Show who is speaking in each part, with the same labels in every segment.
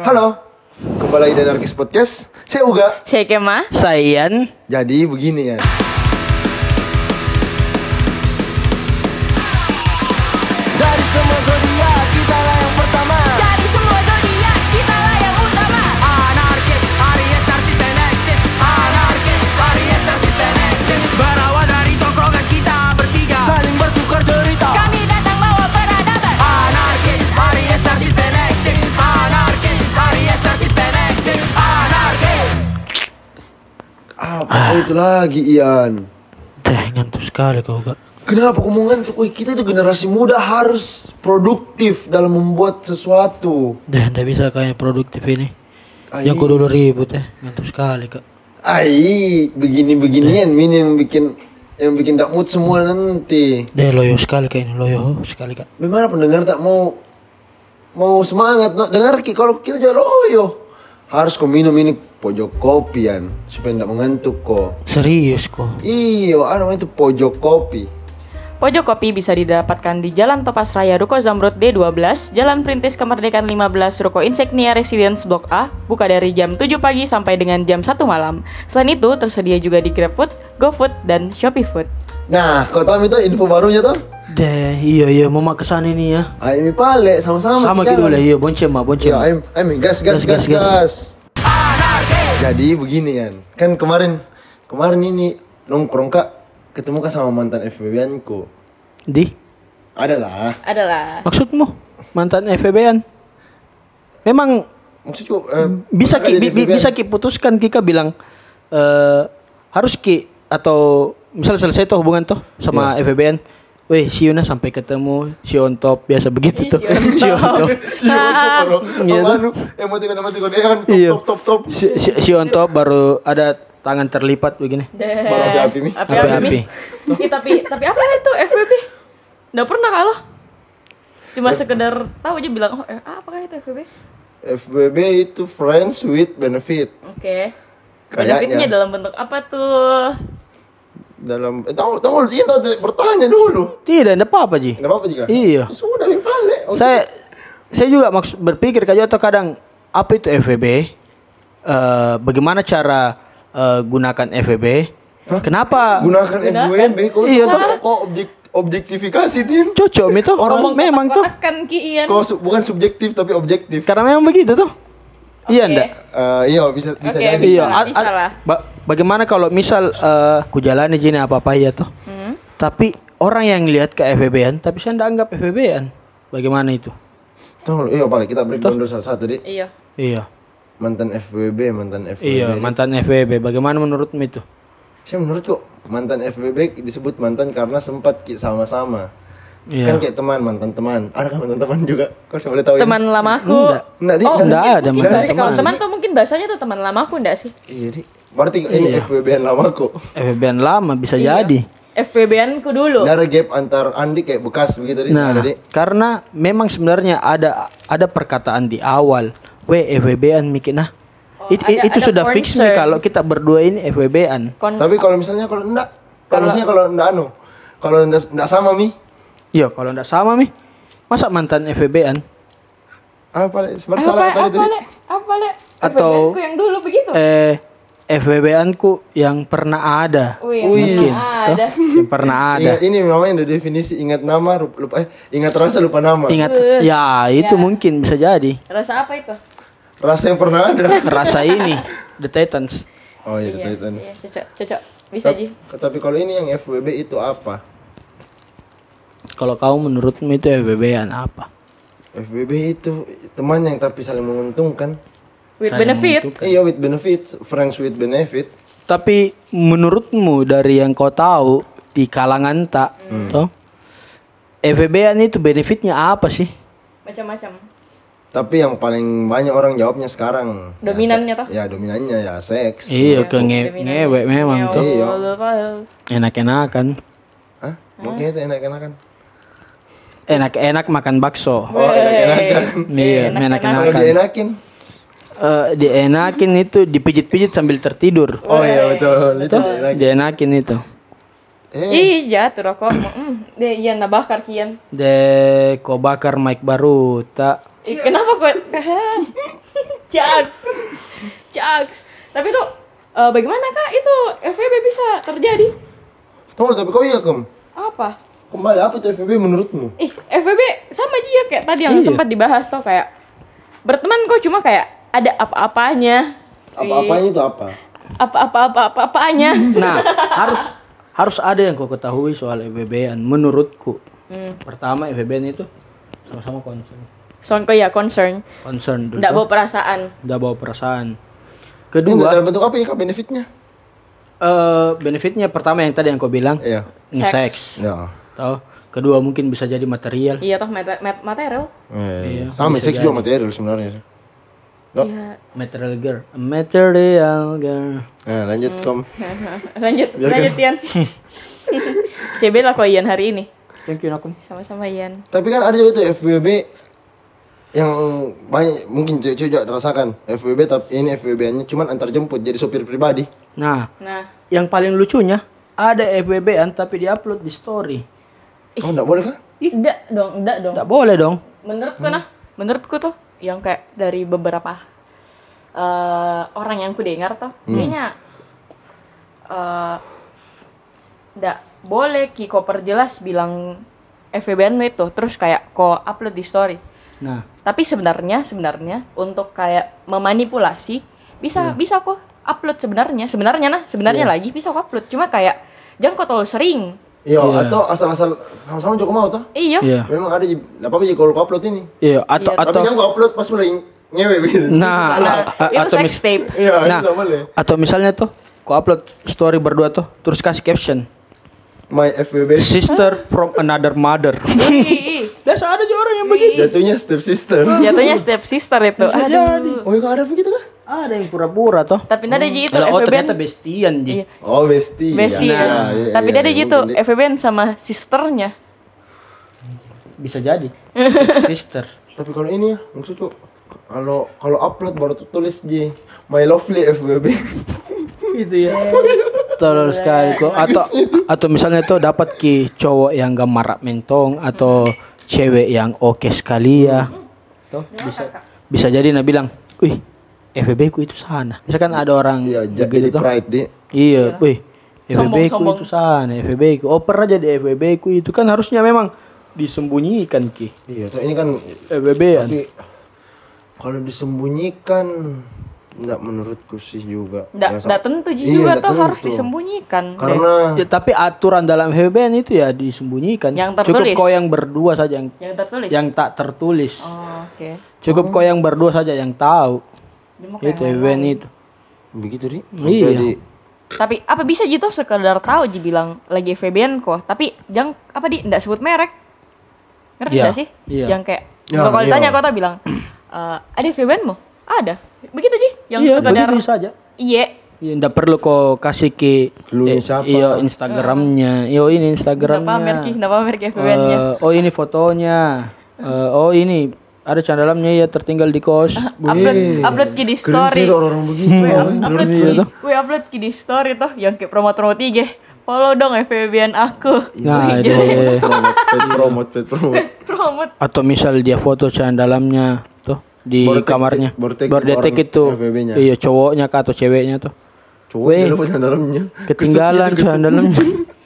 Speaker 1: Halo, kembali lagi di Anarkis Podcast. Saya Uga.
Speaker 2: Shekema
Speaker 3: Sayan
Speaker 1: Jadi begini ya. Dari semua zodiak kita lah yang pertama.
Speaker 2: Dari semua zodiak kita lah yang utama
Speaker 4: Anarkis, Aries, Narsis, dan Eksis Anarkis, Aries, Narsis, dan Eksis Berawal dari tongkrongan kita bertiga
Speaker 1: Saling bertukar cerita.
Speaker 2: Kami datang bawa peradaban
Speaker 4: Anarkis, Aries, Narsis, dan Eksis Anarkis, Aries, Narsis, dan Eksis Anarkis
Speaker 1: Apa itu lagi Ian?
Speaker 3: Teh ngantuk sekali kau kak
Speaker 1: Kenapa omongan tuh? Wih, kita itu generasi muda harus produktif dalam membuat sesuatu.
Speaker 3: Teh ndak bisa kak yang produktif ini
Speaker 1: Ai.
Speaker 3: Yang kudu dulu ribut teh Ngantuk sekali kak
Speaker 1: Ai, begini-beginian min yang bikin yang bikin dakmut semua nanti.
Speaker 3: Teh loyo sekali kak ini Loyo sekali kak
Speaker 1: Memang pendengar tak mau mau semangat nak dengar ki kalau kita jual loyo harus kau minum ini pojok kopian supaya tidak mengantuk kok.
Speaker 3: Serius kok
Speaker 1: Iyo, ada orang itu pojok kopi.
Speaker 2: Pojok kopi bisa didapatkan di Jalan Topas Raya Ruko Zamrud D12, Jalan Perintis Kemerdekaan 15, Ruko Insignia Residence Blok A, buka dari jam 7 pagi sampai dengan jam 1 malam. Selain itu, tersedia juga di GrabFood, GoFood, dan ShopeeFood.
Speaker 1: Nah, kau tahu itu info barunya tuh?
Speaker 3: Teh iya iya mau mak kesana ini ya
Speaker 1: Aimi pale sama-sama.
Speaker 3: Sama
Speaker 1: kita.
Speaker 3: kita boleh iya bonceng mah bonceng
Speaker 1: Iya, Aim, Aim, gas, gas, gas, gas.
Speaker 3: Gas, gas, gas.
Speaker 1: Jadi begini kan, kan kemarin kemarin ini nongkrong kak ketemu kak sama mantan FBB ku.
Speaker 3: Di
Speaker 1: Adalah.
Speaker 2: Adalah.
Speaker 3: maksudmu mantan FBN Memang
Speaker 1: Maksudku eh,
Speaker 3: bisa
Speaker 1: pernah
Speaker 3: ki,
Speaker 1: jadi
Speaker 3: bi- bi-
Speaker 1: FBB-an?
Speaker 3: bisa ki putuskan Kika bilang eh harus ki atau misal selesai tuh hubungan tuh sama FBN Weh, si Yuna sampai ketemu, si on top biasa begitu tuh. Si on top.
Speaker 1: Siono,
Speaker 3: Iya tuh.
Speaker 1: anu, emotikon emotikon ya kan,
Speaker 3: Iya.
Speaker 1: top top top. top.
Speaker 3: Si, si, si on top baru ada tangan terlipat begini.
Speaker 1: Baru api-api nih.
Speaker 3: Api-api.
Speaker 2: tapi tapi apa itu FBB? Nggak pernah kalah. Cuma sekedar tahu aja bilang, oh, eh, apakah itu FBB?
Speaker 1: FBB itu friends with benefit.
Speaker 2: Oke.
Speaker 1: Kayaknya
Speaker 2: Benefitnya dalam bentuk apa tuh?
Speaker 1: dalam eh, tahu tahu dia tahu dia bertanya dulu.
Speaker 3: Tidak, ada apa-apa Ji.
Speaker 1: Enggak apa-apa juga. Ya
Speaker 3: Iya.
Speaker 1: Sudah yang balik. Oke.
Speaker 2: Oh,
Speaker 3: Saya
Speaker 2: iya.
Speaker 3: saya juga maksud berpikir Kak Joto kadang apa itu FVB? Eh, bagaimana cara eh, gunakan FVB? Kenapa
Speaker 1: gunakan FWB kok
Speaker 3: Iya,
Speaker 1: kok-
Speaker 3: toh.
Speaker 1: kok objek objektififikasi din.
Speaker 3: cocok itu orang memang tuh
Speaker 2: Akan kian.
Speaker 1: Kok su- bukan subjektif tapi objektif.
Speaker 3: karena memang begitu tuh. Iya ndak?
Speaker 1: Eh, iya bisa bisa
Speaker 2: Oke,
Speaker 1: jadi.
Speaker 3: Iya,
Speaker 2: lah,
Speaker 3: a-
Speaker 2: bisa
Speaker 3: a-
Speaker 2: lah.
Speaker 3: ba- bagaimana kalau misal eh, ku jalani jini apa-apa ya tuh.
Speaker 2: Hmm.
Speaker 3: Tapi orang yang lihat ke FVB-an tapi saya ndak anggap FVB-an. Bagaimana itu?
Speaker 1: Tahu iya balik kita breakdown dulu satu-satu deh.
Speaker 2: Iya.
Speaker 3: Iya.
Speaker 1: Mantan FWB, mantan FWB.
Speaker 3: Iya, mantan FVB. Bagaimana menurutmu itu?
Speaker 1: Saya menurutku mantan FBB disebut mantan karena sempat ki- sama-sama.
Speaker 3: Iya.
Speaker 1: Kan kayak teman, mantan teman. Ada kan mantan teman juga. Kau siapa boleh tahu
Speaker 2: Teman
Speaker 1: ini?
Speaker 2: lamaku.
Speaker 3: Enggak.
Speaker 1: Enggak, Di.
Speaker 2: Oh,
Speaker 1: Enggak
Speaker 2: mungkin-
Speaker 3: ada
Speaker 2: mungkin
Speaker 3: mantan
Speaker 2: bahasa- Kalau
Speaker 3: teman.
Speaker 2: teman tuh mungkin bahasanya tuh teman lamaku enggak sih?
Speaker 1: Iya, Di. Berarti ini FBB-an lamaku.
Speaker 3: FVB-an lama bisa
Speaker 2: Iya.
Speaker 3: jadi.
Speaker 2: FVB-an ku dulu.
Speaker 1: Dari gap antar Andi kayak bekas begitu Di.
Speaker 3: Nah,
Speaker 1: Ada Di.
Speaker 3: karena memang sebenarnya ada ada perkataan di awal, we FWB-an mikir nah.
Speaker 2: Oh,
Speaker 3: it- it-
Speaker 2: ada-
Speaker 3: itu
Speaker 2: ada
Speaker 3: sudah fix nih
Speaker 2: concern.
Speaker 3: kalau kita berdua ini FWB-an.
Speaker 2: Kon-
Speaker 1: Tapi kalau misalnya kalau enggak, kalau misalnya kalau enggak anu, kalau enggak, enggak sama Mi,
Speaker 3: Iya, kalau ndak sama nih. Masa mantan FWB-an?
Speaker 1: apa Le?
Speaker 2: apa
Speaker 1: Bersalah
Speaker 2: apa
Speaker 1: tadi tadi.
Speaker 2: le? Apa le?
Speaker 3: Atau-
Speaker 2: FVB-an ku yang dulu begitu.
Speaker 3: Eh FWB-an ku yang pernah ada.
Speaker 2: Wih,
Speaker 1: Wih.
Speaker 2: Oh, iya. Ah, ada.
Speaker 3: Yang pernah ada.
Speaker 1: Ingat, ini namanya udah definisi ingat nama rup- lupa eh, ingat rasa lupa nama.
Speaker 3: Ingat
Speaker 2: Iya.
Speaker 3: ya itu mungkin bisa jadi.
Speaker 2: Rasa apa itu?
Speaker 1: Rasa yang pernah ada.
Speaker 3: Rasa ini The Titans.
Speaker 1: Oh iya, Titan.
Speaker 2: Iya, cocok, cocok. Bisa
Speaker 1: Tapi,
Speaker 2: aja.
Speaker 1: tapi kalau ini yang FWB itu apa?
Speaker 3: Kalau kamu menurutmu itu FWB-an apa?
Speaker 1: FBB itu teman yang tapi saling menguntungkan.
Speaker 2: Kan. With
Speaker 3: Saya
Speaker 2: benefit.
Speaker 3: mengutuk.
Speaker 1: Iya, with benefit, friends with benefit.
Speaker 3: Tapi menurutmu dari yang kau tahu di kalangan tak,
Speaker 1: Hmm.
Speaker 3: toh FWB-an itu benefitnya apa sih?
Speaker 2: Macam-macam.
Speaker 1: Tapi yang paling banyak orang jawabnya sekarang. Ya,
Speaker 2: Dominannya
Speaker 1: se-
Speaker 2: toh?
Speaker 1: Ya, dominannya ya seks.
Speaker 3: Iya, ke nge- ngewek memang
Speaker 2: Yo,
Speaker 3: tuh.
Speaker 1: Iya.
Speaker 3: Enak-enakan.
Speaker 1: Hah? Makanya itu enak-enakan.
Speaker 3: Enak-enak makan
Speaker 1: Oh,
Speaker 3: bakso.
Speaker 1: enak-enakan.
Speaker 2: Ah.
Speaker 3: Iya,
Speaker 1: Kalau
Speaker 3: enak-enakan.
Speaker 1: dienakin.
Speaker 3: Eh, dienakin itu dipijit-pijit sambil tertidur.
Speaker 1: Oh iya, betul. Itu dienakin.
Speaker 3: Dienakin itu.
Speaker 1: Eh,
Speaker 2: Ih, jatuh rokok. Hmm, deh, iya nabah kian.
Speaker 3: De kau bakar mic baru tak
Speaker 2: Eh, Ih, kenapa kok? Cak. Cak. Tapi tuh eh, bagaimana Kak itu FVB bisa terjadi?
Speaker 1: Tol, tapi kau iya kamu.
Speaker 2: Apa? Eh,
Speaker 1: Kembali apa itu FVB menurutmu?
Speaker 2: Ih, FVB sama aja ya, kayak tadi yang
Speaker 3: Iya.
Speaker 2: sempat dibahas tuh kayak berteman kok cuma kayak ada apa-apanya.
Speaker 1: Apa-apanya itu apa?
Speaker 2: Apa-apa-apa-apa-apanya.
Speaker 3: Nah, harus harus ada yang kau ketahui soal FBB-an menurutku.
Speaker 2: Hmm.
Speaker 3: Pertama FBB-an itu sama-sama concern.
Speaker 2: Soalnya kok ya concern.
Speaker 3: Concern dulu.
Speaker 2: Nggak bawa perasaan.
Speaker 3: Nggak bawa perasaan.
Speaker 1: Ini
Speaker 3: Kedua,
Speaker 1: dalam bentuk apa ini kak benefitnya?
Speaker 3: eh, benefitnya pertama yang tadi yang kau bilang,
Speaker 1: Iya.
Speaker 3: nge-sex.
Speaker 1: Ya.
Speaker 3: Tahu? Kedua mungkin bisa jadi material.
Speaker 2: Iya toh mate- mat- material.
Speaker 1: Eh, sama seks juga material sebenarnya sih. Oh.
Speaker 2: Iya.
Speaker 3: Material girl. Material girl.
Speaker 1: Nah, lanjut
Speaker 2: Hmm.
Speaker 1: kom.
Speaker 2: lanjut, lanjut Ian. CB lah kok Ian hari ini.
Speaker 3: Thank you Nakum.
Speaker 2: Sama-sama Ian.
Speaker 1: Tapi kan ada juga itu FWB yang banyak mungkin cewek-cewek juga rasakan FWB tapi ini FWB-nya cuman antar jemput jadi sopir pribadi.
Speaker 3: Nah,
Speaker 2: Nah,
Speaker 3: yang paling lucunya ada FBB-an tapi diupload di story.
Speaker 1: Oh, enggak boleh kan?
Speaker 2: enggak dong, enggak dong.
Speaker 3: Nggak boleh dong. Hmm.
Speaker 2: Menurutku nah, menurutku tuh yang kayak dari beberapa eh, orang yang ku dengar tuh
Speaker 3: Hmm.
Speaker 2: kayaknya eh, enggak boleh Ki kok perjelas bilang FVBN itu terus kayak kok upload di story.
Speaker 3: Nah,
Speaker 2: Tapi sebenarnya sebenarnya untuk kayak memanipulasi bisa
Speaker 3: Hmm.
Speaker 2: bisa kok upload sebenarnya. Sebenarnya nah, sebenarnya
Speaker 3: Iya.
Speaker 2: lagi bisa kok upload. Cuma kayak jangan kok terlalu sering.
Speaker 1: Iya,
Speaker 3: Iya.
Speaker 1: atau asal-asal sama-sama juga mau toh.
Speaker 2: Iya.
Speaker 3: iya.
Speaker 1: Memang ada enggak apa-apa sih kalau kau upload ini.
Speaker 3: Iya, atau
Speaker 2: Iya.
Speaker 1: Tapi
Speaker 3: atau
Speaker 1: jangan kau upload pas mulai ngewe gitu.
Speaker 3: Nah,
Speaker 1: Salah.
Speaker 2: Nah,
Speaker 3: A- a-
Speaker 2: itu
Speaker 3: atau
Speaker 2: sex
Speaker 3: mis-
Speaker 2: tape.
Speaker 1: Iya, itu
Speaker 3: Nah.
Speaker 1: enggak boleh.
Speaker 3: atau misalnya tuh ku upload story berdua tuh terus kasih caption
Speaker 1: My FWB
Speaker 3: sister from another mother
Speaker 2: Iya, Ih,
Speaker 3: biasa ada juga orang yang begitu
Speaker 1: jatuhnya step sister.
Speaker 2: Jatuhnya step sister itu. Iya,
Speaker 3: Iya,
Speaker 2: Aduh.
Speaker 1: Oh, kau ada begitu kan?
Speaker 3: ada yang pura-pura tuh
Speaker 2: Tapi tadi Ji itu
Speaker 3: oh
Speaker 2: FVBN.
Speaker 3: ternyata bestian
Speaker 2: Iya.
Speaker 3: ji
Speaker 1: Oh, bestie.
Speaker 2: Bestie.
Speaker 1: Nah,
Speaker 2: ya.
Speaker 1: iya,
Speaker 2: Tapi
Speaker 1: iya,
Speaker 2: tadi
Speaker 1: iya,
Speaker 2: gitu
Speaker 1: mungkin dia-
Speaker 2: FVBN sama sisternya.
Speaker 3: bisa jadi Sister- sister
Speaker 1: Tapi kalau ini ya, maksudku kalau kalau upload baru tuh tulis J my lovely FWB.
Speaker 3: itu ya Iya. tolol sekali kok atau atau misalnya tuh dapat ki cowok yang gak marak mentong atau cewek yang oke sekali ya tuh bisa bisa jadi nah bilang wih FBB ku itu sana misalkan ada orang
Speaker 1: Iya, ja-
Speaker 3: begitu
Speaker 1: jadi
Speaker 3: tuh.
Speaker 1: pride deh.
Speaker 3: Iya, wih.
Speaker 2: Sombong,
Speaker 3: FBB ku
Speaker 2: sombong.
Speaker 3: itu sana, FBB ku oper aja di FBB ku itu kan harusnya memang disembunyikan ki.
Speaker 1: Iya, tuh ini kan
Speaker 3: FBB an.
Speaker 1: tapi kalau disembunyikan enggak menurutku sih juga. Ya,
Speaker 2: Nggak,
Speaker 1: sa-
Speaker 2: nggak tentu Ji
Speaker 1: Iya,
Speaker 2: juga
Speaker 1: nggak
Speaker 2: tuh harus
Speaker 1: tentu.
Speaker 2: disembunyikan.
Speaker 1: Karena
Speaker 3: Ya, tapi aturan dalam FBB an itu ya disembunyikan.
Speaker 2: Yang tertulis.
Speaker 3: Cukup kau yang berdua saja yang
Speaker 2: Yang tertulis.
Speaker 3: yang tak tertulis.
Speaker 2: Oh, oke.
Speaker 3: Cukup kau yang berdua saja yang tahu.
Speaker 2: Dia
Speaker 1: Iya,
Speaker 2: mau
Speaker 3: Itu
Speaker 2: kayak-
Speaker 3: FBB an itu.
Speaker 1: begitu di.
Speaker 3: Iya.
Speaker 1: Jadi
Speaker 2: Tapi apa bisa Ji tuh sekedar tahu Ji bilang lagi FVBN kok. Tapi jangan apa di enggak sebut merek. Ngerti
Speaker 3: Iya,
Speaker 2: enggak sih?
Speaker 3: iya.
Speaker 2: Yang kayak
Speaker 1: Ya,
Speaker 2: kalau
Speaker 1: iya.
Speaker 2: ditanya kau tuh bilang "Eh, ada FVBN mu? Ada. Begitu Ji yang
Speaker 3: iya,
Speaker 2: sekedar
Speaker 3: begitu saja.
Speaker 2: iya.
Speaker 3: Iya, ndak perlu kau kasih ki
Speaker 1: Clue-nya
Speaker 3: eh,
Speaker 1: siapa?
Speaker 3: Iya, Instagramnya. Iya, ini
Speaker 2: Nggak
Speaker 3: Instagramnya.
Speaker 2: pamer Ki, nggak pamer Ki FVBN-nya.
Speaker 3: Eh, oh ini fotonya. Eh, oh ini ada can dalamnya ya tertinggal di kos.
Speaker 2: Ah. upload
Speaker 1: Wih.
Speaker 2: upload ki di
Speaker 1: keren sih Iya,
Speaker 2: story.
Speaker 1: orang-orang begitu.
Speaker 2: Gue
Speaker 1: woy.
Speaker 2: upload ki,
Speaker 3: Iya,
Speaker 1: gitu.
Speaker 2: gue upload ki di story toh yang kayak promo-promo tiga. Follow dong FVBN aku. Wih,
Speaker 3: Nah,
Speaker 2: jelek.
Speaker 3: ada.
Speaker 1: Iya, Promote, pet promote, pet promote.
Speaker 2: Promote.
Speaker 3: Atau misal dia foto can dalamnya tuh di
Speaker 1: Baru take-
Speaker 3: kamarnya.
Speaker 1: baru take
Speaker 3: Baru dia
Speaker 1: orang
Speaker 3: take itu.
Speaker 1: FWB-nya.
Speaker 3: Iya, cowoknya kah atau ceweknya tuh.
Speaker 1: Cowok yang dalam yang dalamnya.
Speaker 3: Ketinggalan
Speaker 1: Kesut gitu,
Speaker 3: can
Speaker 1: kesut.
Speaker 3: dalamnya.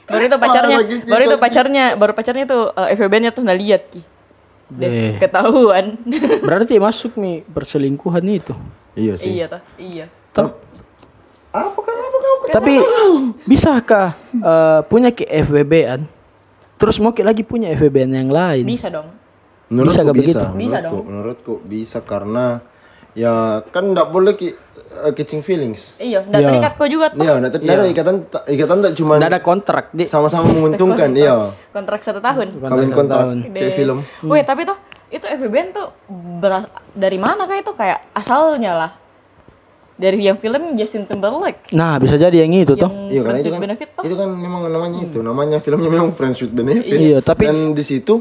Speaker 2: Baru itu pacarnya,
Speaker 1: Parah lagi, Ki.
Speaker 2: baru itu pacarnya, baru pacarnya tuh eh, FVBN-nya tuh nggak lihat ki. Deh,
Speaker 1: Iya.
Speaker 3: Eh.
Speaker 2: ketahuan.
Speaker 3: Berarti masuk nih perselingkuhan itu.
Speaker 1: Iya sih.
Speaker 2: iya toh, iya.
Speaker 3: Tep-
Speaker 1: Apa kan apa kau?
Speaker 3: tapi bisakah eh, punya ke FWB-an? Terus mau ki lagi punya FWB-an yang lain?
Speaker 2: Bisa dong.
Speaker 1: Menurutku bisa,
Speaker 3: Bisa gak begitu?
Speaker 1: menurutku,
Speaker 2: Bisa dong.
Speaker 1: menurutku bisa karena ya kan ndak boleh ki, eh, catching feelings.
Speaker 2: Iya, nggak
Speaker 3: Iya.
Speaker 2: terikat kau juga tuh.
Speaker 1: Iya, ndak ndak ada ikatan ta- ikatan tak cuma
Speaker 3: Nggak ada kontrak, Di.
Speaker 1: sama-sama menguntungkan, iya.
Speaker 2: Kontrak satu tahun.
Speaker 1: Kawin kontrak kayak
Speaker 2: Deh.
Speaker 1: film.
Speaker 2: Weh, tapi tuh itu FVBN tuh beras- dari mana kayak itu kayak asalnya lah. Dari yang film Justin Timberlake.
Speaker 3: Nah, bisa jadi yang itu toh.
Speaker 1: Iya, karena
Speaker 2: Friends
Speaker 1: itu
Speaker 2: with
Speaker 1: kan
Speaker 2: benefit toh.
Speaker 1: itu kan memang namanya itu. Namanya filmnya memang Friends with Benefit.
Speaker 3: Iya, tapi-
Speaker 1: dan di situ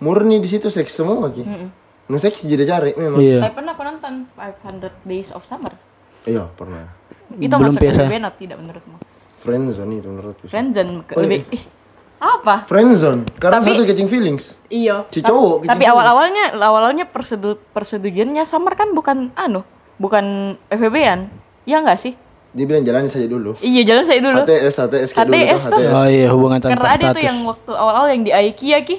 Speaker 1: murni di situ seks semua ki. Nge-seks jadi cari memang.
Speaker 3: Iya.
Speaker 2: Tapi pernah aku nonton 500 Days of Summer.
Speaker 1: Iya, pernah.
Speaker 2: Itu
Speaker 3: Belum
Speaker 2: masuk
Speaker 3: biasa.
Speaker 2: FVBN atau tidak menurutmu?
Speaker 1: Friendzone itu menurutku. sih.
Speaker 2: Friendzone ke-
Speaker 1: Oh,
Speaker 2: lebih ih, apa?
Speaker 1: Friendzone karena
Speaker 2: Tapi-
Speaker 1: satu catching feelings.
Speaker 2: Iya.
Speaker 1: Si cowok,
Speaker 2: Tapi
Speaker 1: kecil-kecil.
Speaker 2: awal-awalnya awalnya persedu persetujuannya Summer kan bukan anu, Bukan FEB-an? Ya nggak sih?
Speaker 1: Dia bilang jalani saja dulu.
Speaker 2: Iya jalan saya dulu.
Speaker 1: HTS, HTS kayak dulu
Speaker 2: HTS
Speaker 1: tuh,
Speaker 2: tuh.
Speaker 1: HTS.
Speaker 3: Oh iya hubungan tanpa
Speaker 2: Karena ada
Speaker 3: status.
Speaker 2: tuh yang waktu awal-awal yang di IKEA ki.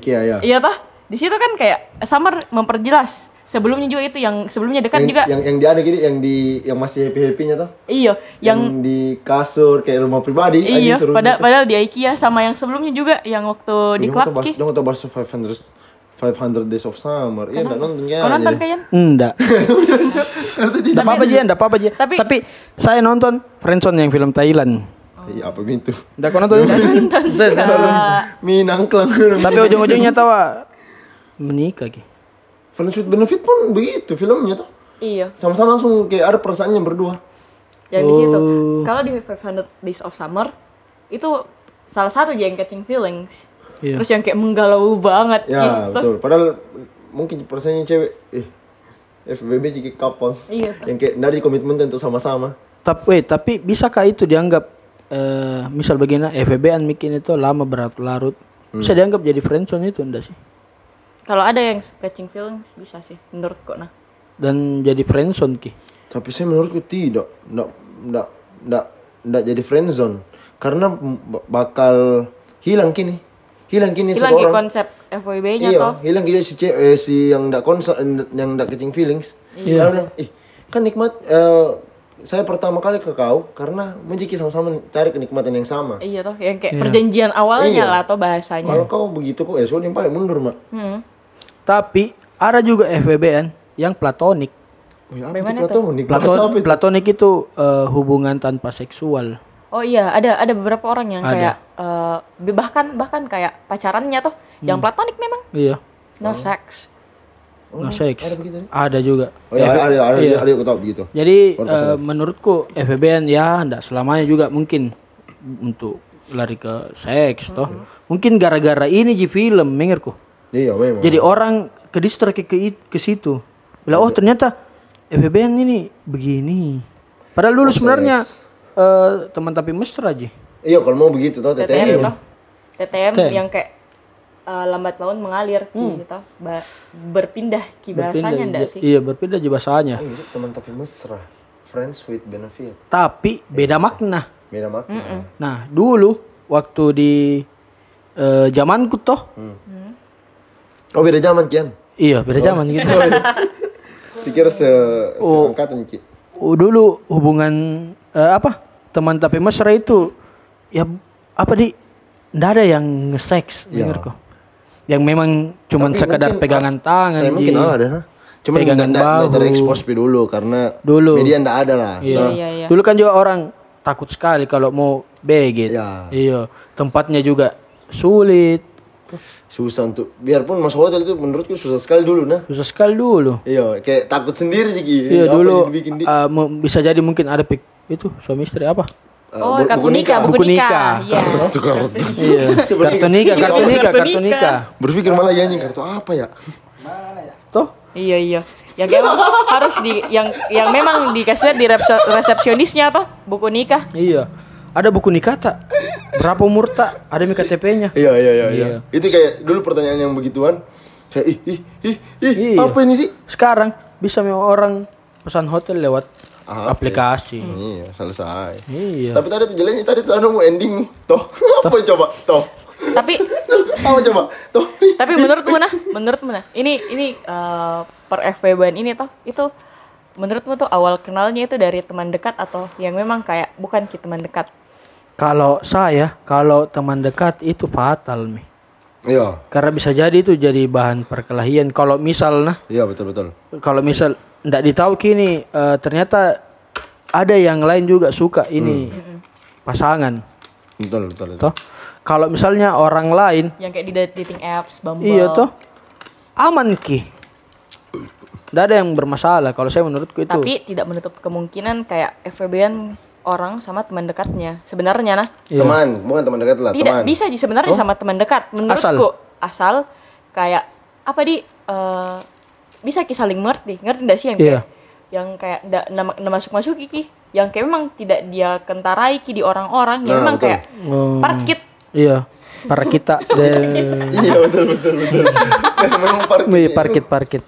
Speaker 1: IKEA ya.
Speaker 2: Iya toh? Di situ kan kayak Samar memperjelas. Sebelumnya juga itu yang sebelumnya dekat
Speaker 1: yang,
Speaker 2: kan juga.
Speaker 1: yang yang di ada gini yang di yang masih happy happynya tuh
Speaker 2: iya, yang,
Speaker 1: di kasur kayak rumah pribadi
Speaker 2: iya.
Speaker 1: anjing seru
Speaker 2: Pada,
Speaker 1: gitu.
Speaker 2: padahal di IKEA sama yang sebelumnya juga yang waktu di
Speaker 1: Jangan
Speaker 2: klub
Speaker 1: tau bahas-
Speaker 2: ki.
Speaker 1: jangan tau bahas 500 500 Days of Summer iya enggak nonton ya
Speaker 2: Kau nonton
Speaker 1: jadi.
Speaker 2: kalian?
Speaker 3: Enggak. Enggak apa-apa aja, enggak apa-apa aja. Tapi,
Speaker 2: Tapi-
Speaker 3: saya nonton Friendzone yang film Thailand.
Speaker 1: iya apa gitu
Speaker 3: Enggak kau nonton? Saya- saya nonton.
Speaker 1: minang kelang
Speaker 3: Tapi ujung-ujungnya tawa menikah gitu.
Speaker 1: Friends with Benefit pun begitu filmnya tuh
Speaker 2: Iya,
Speaker 1: sama-sama langsung kayak ada perasaannya berdua
Speaker 2: yang di situ.
Speaker 3: Oh.
Speaker 2: Kalau di 500 Days of Summer itu salah satu aja yang catching feelings.
Speaker 3: Iya.
Speaker 2: Terus yang kayak menggalau banget
Speaker 1: ya
Speaker 2: gitu.
Speaker 1: betul padahal mungkin perasaannya cewek eh FBB jadi couple
Speaker 2: Iya.
Speaker 1: yang kayak dari komitmen untuk sama-sama
Speaker 3: Tapi, wait, tapi bisakah itu dianggap eh misal begini FVB an bikin itu lama berlarut-larut
Speaker 1: Hmm.
Speaker 3: bisa dianggap jadi friendzone itu enggak sih?
Speaker 2: Kalau ada yang catching feelings bisa sih menurutku nah.
Speaker 3: Dan jadi friendzone ki.
Speaker 1: Tapi saya menurutku tidak, ndak ndak ndak ndak jadi friendzone karena b- bakal hilang kini. Hilang kini satu
Speaker 2: Hilang di
Speaker 1: orang.
Speaker 2: konsep FWB-nya
Speaker 1: Iya,
Speaker 2: toh.
Speaker 1: hilang kita si ce- eh, si yang ndak konser yang ndak kencing feelings.
Speaker 2: Iya.
Speaker 1: Karena bilang, "Ih, kan nikmat eh, saya pertama kali ke kau karena menjadi sama-sama cari kenikmatan yang sama.
Speaker 2: Iya toh, yang kayak perjanjian awalnya
Speaker 1: Iya.
Speaker 2: lah atau bahasanya.
Speaker 1: Kalau kau begitu kok ya sudah yang paling mundur, Mak.
Speaker 2: Hmm.
Speaker 3: Tapi ada juga FVB an yang platonik.
Speaker 1: Wih, "Oh, ya apa itu platonik? Bahasa
Speaker 3: Platon,
Speaker 1: apa itu?
Speaker 3: platonik itu eh, hubungan tanpa seksual.
Speaker 2: Oh iya, ada ada beberapa orang yang
Speaker 3: Ada.
Speaker 2: kayak eh, bahkan bahkan kayak pacarannya toh yang platonik memang
Speaker 3: Iya.
Speaker 2: no sex.
Speaker 1: Oh,
Speaker 3: no sex.
Speaker 1: Ada begitu. nih?
Speaker 3: Ada juga.
Speaker 1: Oh ya, ada ada
Speaker 3: Iya.
Speaker 1: ada, ada yang tahu begitu.
Speaker 3: Jadi
Speaker 1: Orang
Speaker 3: eh, menurutku FBN ya enggak selamanya juga mungkin untuk lari ke
Speaker 1: Hmm.
Speaker 3: seks toh. Mungkin gara-gara ini di film mengerku.
Speaker 1: Iya, memang.
Speaker 3: Jadi orang ke distrik ke it- ke situ. Lah oh ternyata FBN ini begini. Padahal
Speaker 1: Oh,
Speaker 3: dulu sebenarnya eh, teman tapi mesra aja.
Speaker 1: Iya, kalau mau begitu ya. tahu
Speaker 2: TTM
Speaker 1: TTM.
Speaker 2: ya, toh. TTM
Speaker 3: TTM.
Speaker 2: yang kayak eh, lambat laun mengalir ki, gitu. Ba- berpindah ki bahasanya enggak sih?
Speaker 3: Hmm. Iya, berpindah aja bahasanya.
Speaker 1: Oh, itu teman tapi mesra. Friends with benefit.
Speaker 3: Tapi beda makna.
Speaker 1: Beda makna.
Speaker 3: Nah, dulu waktu di eh, zamanku toh,
Speaker 1: Oh, beda zaman, Kian.
Speaker 3: iya beda zaman gitu.
Speaker 1: Saya kira se seangkatan, Ki.
Speaker 3: Oh, dulu hubungan eh, apa teman tapi mesra itu ya apa di ndak ada yang nge-sex
Speaker 1: Ya.
Speaker 3: bener kok yang memang cuman
Speaker 1: Tapi
Speaker 3: sekedar
Speaker 1: mungkin-
Speaker 3: pegangan tangan gitu.
Speaker 1: Tapi mungkin
Speaker 3: Ji.
Speaker 1: ada, ha? Cuman nggak
Speaker 3: Pegangan
Speaker 1: nggak- nggak
Speaker 3: bahu.
Speaker 1: terekspos pi dulu karena
Speaker 3: Dulu.
Speaker 1: media nggak ada lah. Nah,
Speaker 3: Iya.
Speaker 2: Iya, iya.
Speaker 3: dulu kan juga orang takut sekali kalau mau beget
Speaker 1: Ya.
Speaker 3: iya tempatnya juga sulit
Speaker 1: Susah untuk biarpun masuk hotel itu menurutku susah sekali dulu nah.
Speaker 3: susah sekali dulu
Speaker 1: Iya, kayak takut sendiri Ji, Ki.
Speaker 3: iya
Speaker 1: Apa
Speaker 3: dulu
Speaker 1: yang dibikin di
Speaker 3: eh, mu- bisa jadi mungkin ada pik itu suami istri apa
Speaker 1: Eh,
Speaker 2: Oh,
Speaker 1: bu-
Speaker 2: kartu
Speaker 1: buku
Speaker 2: nikah, buku
Speaker 3: Buku nikah.
Speaker 2: nikah. Iya.
Speaker 1: Tukar-
Speaker 3: iya
Speaker 1: Seperti-
Speaker 3: kartu nikah kartu
Speaker 1: Oh,
Speaker 2: Iya,
Speaker 3: nikah
Speaker 2: kartu
Speaker 3: kartu
Speaker 2: nikah.
Speaker 3: nikah
Speaker 1: Berpikir malah ya anjing kartu apa ya?
Speaker 3: toh
Speaker 2: Iya iya. Yang kayak harus di yang yang memang dikasih lihat di repso- resepsionisnya apa? Buku nikah.
Speaker 3: Iya. Ada buku nikah tak? Berapa umur tak? Ada mi KTP-nya.
Speaker 1: Iya, iya, iya, iya.
Speaker 3: Iya.
Speaker 1: Itu kayak dulu pertanyaan yang begituan. Kayak ih ih ih ih,
Speaker 3: Iya.
Speaker 1: apa ini sih?
Speaker 3: Sekarang bisa mi orang pesan hotel lewat
Speaker 1: Ah,
Speaker 3: aplikasi.
Speaker 1: Iya, selesai.
Speaker 3: Iya.
Speaker 1: Tapi tadi tuh jalannya tadi tuh anu mau ending toh. apa coba? Toh.
Speaker 2: Tapi
Speaker 1: apa coba? Toh.
Speaker 2: tapi menurutmu nah, menurutmu nah, ini ini eh, per FWB ini toh itu menurutmu tuh awal kenalnya itu dari teman dekat atau yang memang kayak bukan ki teman dekat?
Speaker 3: Kalau saya, kalau teman dekat itu fatal mi.
Speaker 1: Iya.
Speaker 3: Karena bisa jadi itu jadi bahan perkelahian. Kalau misal nah,
Speaker 1: Iya, betul betul.
Speaker 3: kalau misal ndak ditahu kini eh, ternyata ada yang lain juga suka ini pasangan,
Speaker 1: Betul betul. betul.
Speaker 3: toh. Kalau misalnya orang lain
Speaker 2: Yang kayak di dating apps, Bumble.
Speaker 3: Iya toh. Aman ki. Tidak ada yang bermasalah kalau saya menurutku itu.
Speaker 2: Tapi tidak menutup kemungkinan kayak FWB-an orang sama teman dekatnya. Sebenarnya nah,
Speaker 3: Iya.
Speaker 1: Teman, bukan teman dekat lah, teman.
Speaker 2: tidak bisa sih
Speaker 3: Oh.
Speaker 2: sebenarnya sama teman dekat menurutku asal, kayak apa di eh, bisa ki saling mengerti ngerti nggak sih yang
Speaker 3: Iya.
Speaker 2: kayak yang kayak ndak masuk masuk kiki yang kayak memang tidak dia kentarai ki di orang-orang
Speaker 1: Nah,
Speaker 2: yang memang
Speaker 1: betul.
Speaker 2: kayak
Speaker 3: Oh.
Speaker 2: parkit
Speaker 3: Iya. Para kita de
Speaker 1: Iya, betul betul betul. Memang parkit.
Speaker 3: parkit parkit.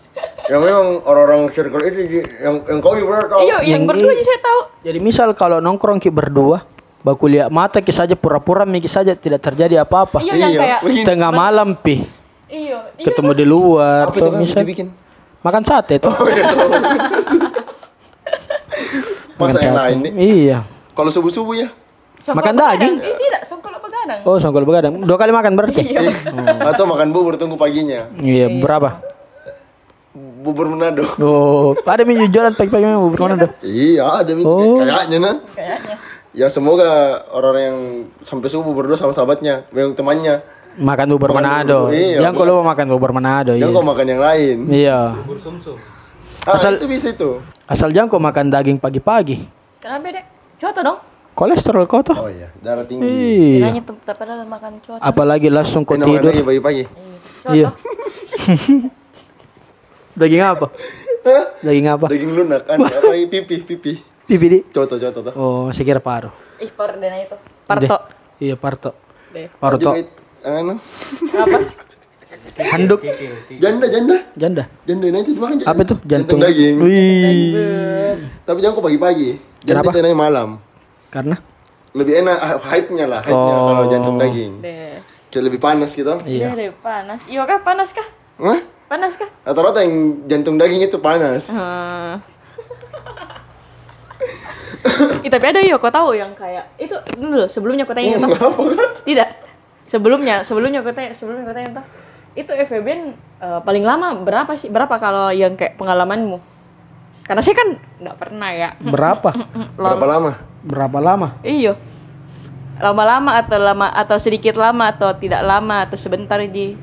Speaker 1: yang memang orang-orang circle itu Ji, yang yang kau juga tahu
Speaker 2: Iya, yang
Speaker 3: Oh, Yang
Speaker 2: berdua
Speaker 3: ini-
Speaker 2: aja saya tahu.
Speaker 3: Jadi misal kalau nongkrong ki berdua, bakuliah mata ki saja pura-pura mikir saja tidak terjadi apa-apa.
Speaker 2: Iya, yang
Speaker 1: Iya,
Speaker 2: kayak
Speaker 1: begini.
Speaker 3: Tengah malam pi
Speaker 2: iya, iya.
Speaker 3: ketemu di luar
Speaker 5: Apa itu
Speaker 3: tuh
Speaker 5: kan
Speaker 3: misal
Speaker 5: dibikin?
Speaker 3: makan sate tuh.
Speaker 1: masa yang lain nih
Speaker 3: Iya.
Speaker 1: kalau subuh subuh ya
Speaker 2: Songkol
Speaker 3: Makan
Speaker 2: begadang.
Speaker 3: daging?
Speaker 2: Ih, tidak, songkol begadang.
Speaker 3: Oh, songkol begadang. Dua kali makan berarti.
Speaker 2: Iya.
Speaker 3: Hmm.
Speaker 1: atau makan bubur tunggu paginya
Speaker 3: Iya, berapa?
Speaker 1: bubur menado
Speaker 3: Oh, ada mie jualan pagi-pagi memang bubur mana dah?
Speaker 1: iya ada itu
Speaker 3: Oh.
Speaker 1: kayaknya nah
Speaker 2: Kayaknya.
Speaker 1: ya semoga orang yang sampai subuh berdua sama sahabatnya yang temannya
Speaker 3: Makan bubur
Speaker 1: Makan
Speaker 3: Manado.
Speaker 1: bubur, iya,
Speaker 3: Yang kau lupa makan bubur Manado. Iya.
Speaker 1: jangan kau makan yang lain
Speaker 3: Iya.
Speaker 1: ah,
Speaker 3: Asal-
Speaker 1: itu bisa itu
Speaker 3: Asal jangan kau makan daging pagi-pagi.
Speaker 2: Kenapa, Dek? Contoh dong.
Speaker 3: Kolesterol kau tuh.
Speaker 1: oh iya darah tinggi
Speaker 3: Iya.
Speaker 2: Kiranya tuh tak padahal makan contoh.
Speaker 3: Apalagi langsung kau
Speaker 1: Ini makan
Speaker 3: tidur.
Speaker 1: lagi pagi-pagi
Speaker 3: Iya. Daging apa?
Speaker 1: Hah?
Speaker 3: Daging apa?
Speaker 1: daging lunak kan apa ini? pipi pipi
Speaker 3: Bibidi.
Speaker 1: coto coto tuh
Speaker 3: Oh, saya kira paru.
Speaker 2: Ih, pardana itu. Parto.
Speaker 3: Iya, parto.
Speaker 2: Deh.
Speaker 3: Parto.
Speaker 1: Juga it- anu
Speaker 3: Handuk.
Speaker 1: janda janda
Speaker 3: Janda.
Speaker 1: janda nanti dimakan janda.
Speaker 3: Apa itu?
Speaker 1: jantung,
Speaker 3: Jantung.
Speaker 1: daging
Speaker 3: Wih.
Speaker 1: tapi jangan kau pagi-pagi jangan
Speaker 3: Kenapa?
Speaker 1: kita malam
Speaker 3: Karena
Speaker 1: lebih enak ah, hype-nya lah hype-nya
Speaker 3: Oh.
Speaker 1: kalau jantung daging
Speaker 2: Deh.
Speaker 1: kayak lebih panas gitu
Speaker 3: iya.
Speaker 2: Deh, panas. Iya kah? Panas kah?
Speaker 1: Hah?
Speaker 2: Panas kah?
Speaker 1: rata-rata yang jantung daging itu panas
Speaker 2: Hmm. Ih, tapi ada ya, kau tahu yang kayak itu dulu sebelumnya kau
Speaker 1: Iya,
Speaker 3: Oh,
Speaker 2: tanya toh. Tidak. Sebelumnya, sebelumnya kau tanya, sebelumnya kau tanya toh. Itu FEB eh, paling lama berapa sih? Berapa kalau yang kayak pengalamanmu? Karena saya kan nggak pernah ya.
Speaker 3: Berapa?
Speaker 1: berapa lama
Speaker 3: Berapa lama?
Speaker 2: Iya. Lama-lama atau lama atau sedikit lama atau tidak lama atau sebentar ji.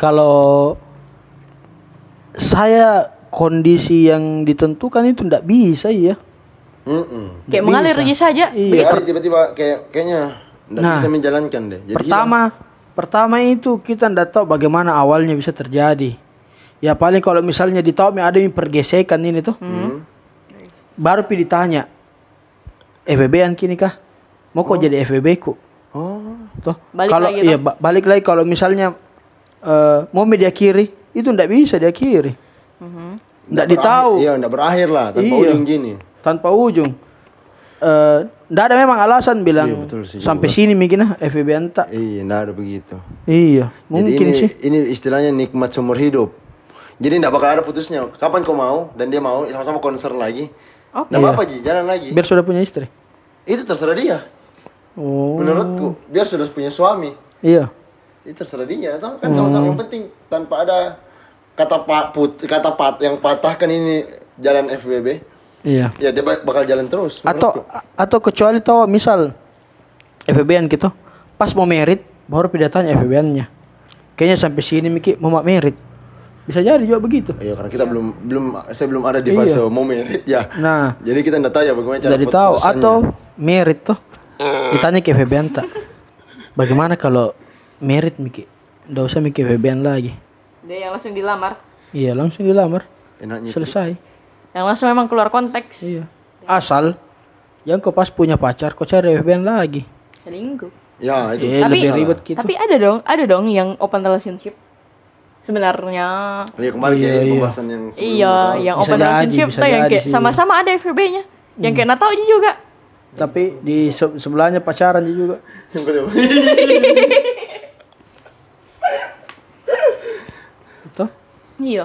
Speaker 3: Kalau saya kondisi yang ditentukan itu ndak bisa ya.
Speaker 1: Mm-mm.
Speaker 2: Kayak
Speaker 3: Nggak
Speaker 2: mengalir
Speaker 3: bisa.
Speaker 2: ji saja.
Speaker 3: Iya.
Speaker 1: Kayak ada tiba-tiba kayak kayaknya nggak
Speaker 3: Nah.
Speaker 1: bisa menjalankan deh jadi iya.
Speaker 3: pertama, pertama itu kita ndak tahu bagaimana awalnya bisa terjadi. Ya paling kalau misalnya ditahu ada yang pergesekan ini tuh.
Speaker 2: Hmm.
Speaker 3: Baru pi ditanya. FBB an kini kah? Mau kok jadi FBB ku?
Speaker 1: hilang. oh
Speaker 2: Oh.
Speaker 3: Tuh.
Speaker 2: Balik
Speaker 3: kalau
Speaker 2: lagi,
Speaker 3: iya
Speaker 2: toh.
Speaker 3: ba- balik lagi kalau misalnya eh, mau media kiri itu ndak bisa dia kiri.
Speaker 2: Hmm.
Speaker 3: Ndak
Speaker 1: Nggak
Speaker 3: ditahu.
Speaker 1: berakhir- iya nggak berakhir lah tanpa
Speaker 3: Iya.
Speaker 1: ujung gini
Speaker 3: tanpa ujung. Eh, ndak ada memang alasan bilang
Speaker 1: Iya, betul sih
Speaker 3: sampai sini mungkin ah FVB anta.
Speaker 1: iya nggak ada begitu
Speaker 3: Iya,
Speaker 1: jadi
Speaker 3: mungkin
Speaker 1: ini,
Speaker 3: sih.
Speaker 1: ini istilahnya nikmat seumur hidup jadi nggak bakal ada putusnya kapan kau mau dan dia mau sama-sama konser lagi
Speaker 2: Oke.
Speaker 1: nggak apa-apa Ji, jalan lagi
Speaker 3: Iya. Biar sudah punya istri.
Speaker 1: itu terserah dia
Speaker 3: Oh.
Speaker 1: menurutku biar sudah punya suami
Speaker 3: Iya.
Speaker 1: itu terserah dia toh kan sama-sama yang penting tanpa ada kata pat put kata pat yang patahkan ini jalan FWB
Speaker 3: Iya.
Speaker 1: ya dia ba- bakal jalan terus
Speaker 3: Atau a- atau kecuali tahu misal FVB an gitu pas mau merit baru pidatanya FVB annya. Kayaknya sampai sini Miki mau mak merit. Bisa jadi juga begitu.
Speaker 1: Iya karena kita belum belum saya belum ada di fase mau merit ya.
Speaker 3: Nah.
Speaker 1: Jadi kita nggak tahu ya bagaimana cara
Speaker 3: Jadi tahu
Speaker 1: keputusannya.
Speaker 3: atau merit tuh ditanya ke FVB anta. Bagaimana kalau merit Miki? Nggak usah Miki FVB an lagi.
Speaker 2: Dia yang langsung dilamar.
Speaker 3: Iya langsung dilamar.
Speaker 2: Iya,
Speaker 1: enaknya itu.
Speaker 3: Selesai.
Speaker 2: Yang langsung memang keluar konteks.
Speaker 3: Iya. Asal yang kau pas punya pacar kau cari FVB an lagi.
Speaker 2: Selingkuh.
Speaker 1: Ya itu.
Speaker 3: Eh,
Speaker 2: Iya, Tapi-
Speaker 3: lebih ribet gitu.
Speaker 2: Tapi ada dong, ada dong yang open relationship. Sebenarnya
Speaker 1: Iya kembali ke pembahasan yang sebelumnya.
Speaker 2: iya,
Speaker 1: tahu.
Speaker 2: yang
Speaker 3: Bisa
Speaker 2: open
Speaker 3: jadi,
Speaker 2: relationship
Speaker 3: bisa
Speaker 2: tuh yang
Speaker 3: jadi
Speaker 2: kayak
Speaker 3: sih. Hmm.
Speaker 2: sama-sama ada FVB-nya. Yang kayak Natau aja juga.
Speaker 3: Tapi di se- sebelahnya pacaran dia juga.
Speaker 1: Yang kedua.
Speaker 3: Tuh.
Speaker 2: Iya.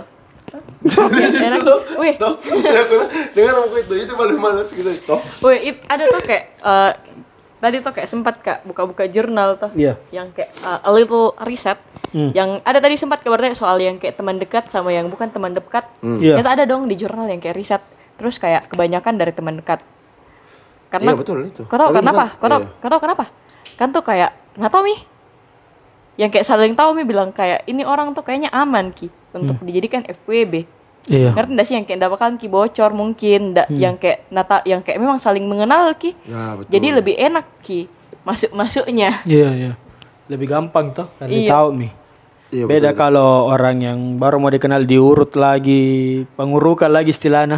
Speaker 2: Oke, enak. Wih,
Speaker 1: Tuh, aku bilang, Dengar aku itu itu paling malas gitu. Toh.
Speaker 2: wih, it- ada tuh kayak eh, tadi tuh kayak sempat Kak buka-buka jurnal tuh.
Speaker 3: Iya.
Speaker 2: Yang kayak eh, a little reset.
Speaker 1: Hmm.
Speaker 2: Yang ada tadi sempat kabarnya soal yang kayak teman dekat sama yang bukan teman dekat.
Speaker 1: Hmm.
Speaker 3: Iya.
Speaker 2: Ternyata ada dong di jurnal yang kayak riset. Terus kayak kebanyakan dari teman dekat.
Speaker 1: Iya,
Speaker 2: Karena
Speaker 1: betul itu.
Speaker 2: Kau tahu
Speaker 1: Tapi
Speaker 2: kenapa?
Speaker 1: bukan-
Speaker 2: Kau tahu,
Speaker 1: iya.
Speaker 2: kau tahu kenapa? Kan tuh kayak nggak tahu mi. Yang kayak saling tahu mi bilang kayak ini orang tuh kayaknya aman ki untuk
Speaker 1: Hmm.
Speaker 2: dijadikan FWB.
Speaker 3: Iya.
Speaker 2: Ngerti nggak sih yang kayak ndak bakalan ki bocor mungkin
Speaker 1: Hmm.
Speaker 2: ndak yang kayak nata yang kayak memang saling mengenal ki.
Speaker 1: Ya betul.
Speaker 2: Jadi lebih enak ki masuk masuknya.
Speaker 3: Iya, iya. Lebih gampang tuh karena
Speaker 2: Iya.
Speaker 3: tahu nih.
Speaker 1: Iya,
Speaker 3: Beda kalau orang yang baru mau dikenal diurut lagi, pengurukan lagi istilahnya.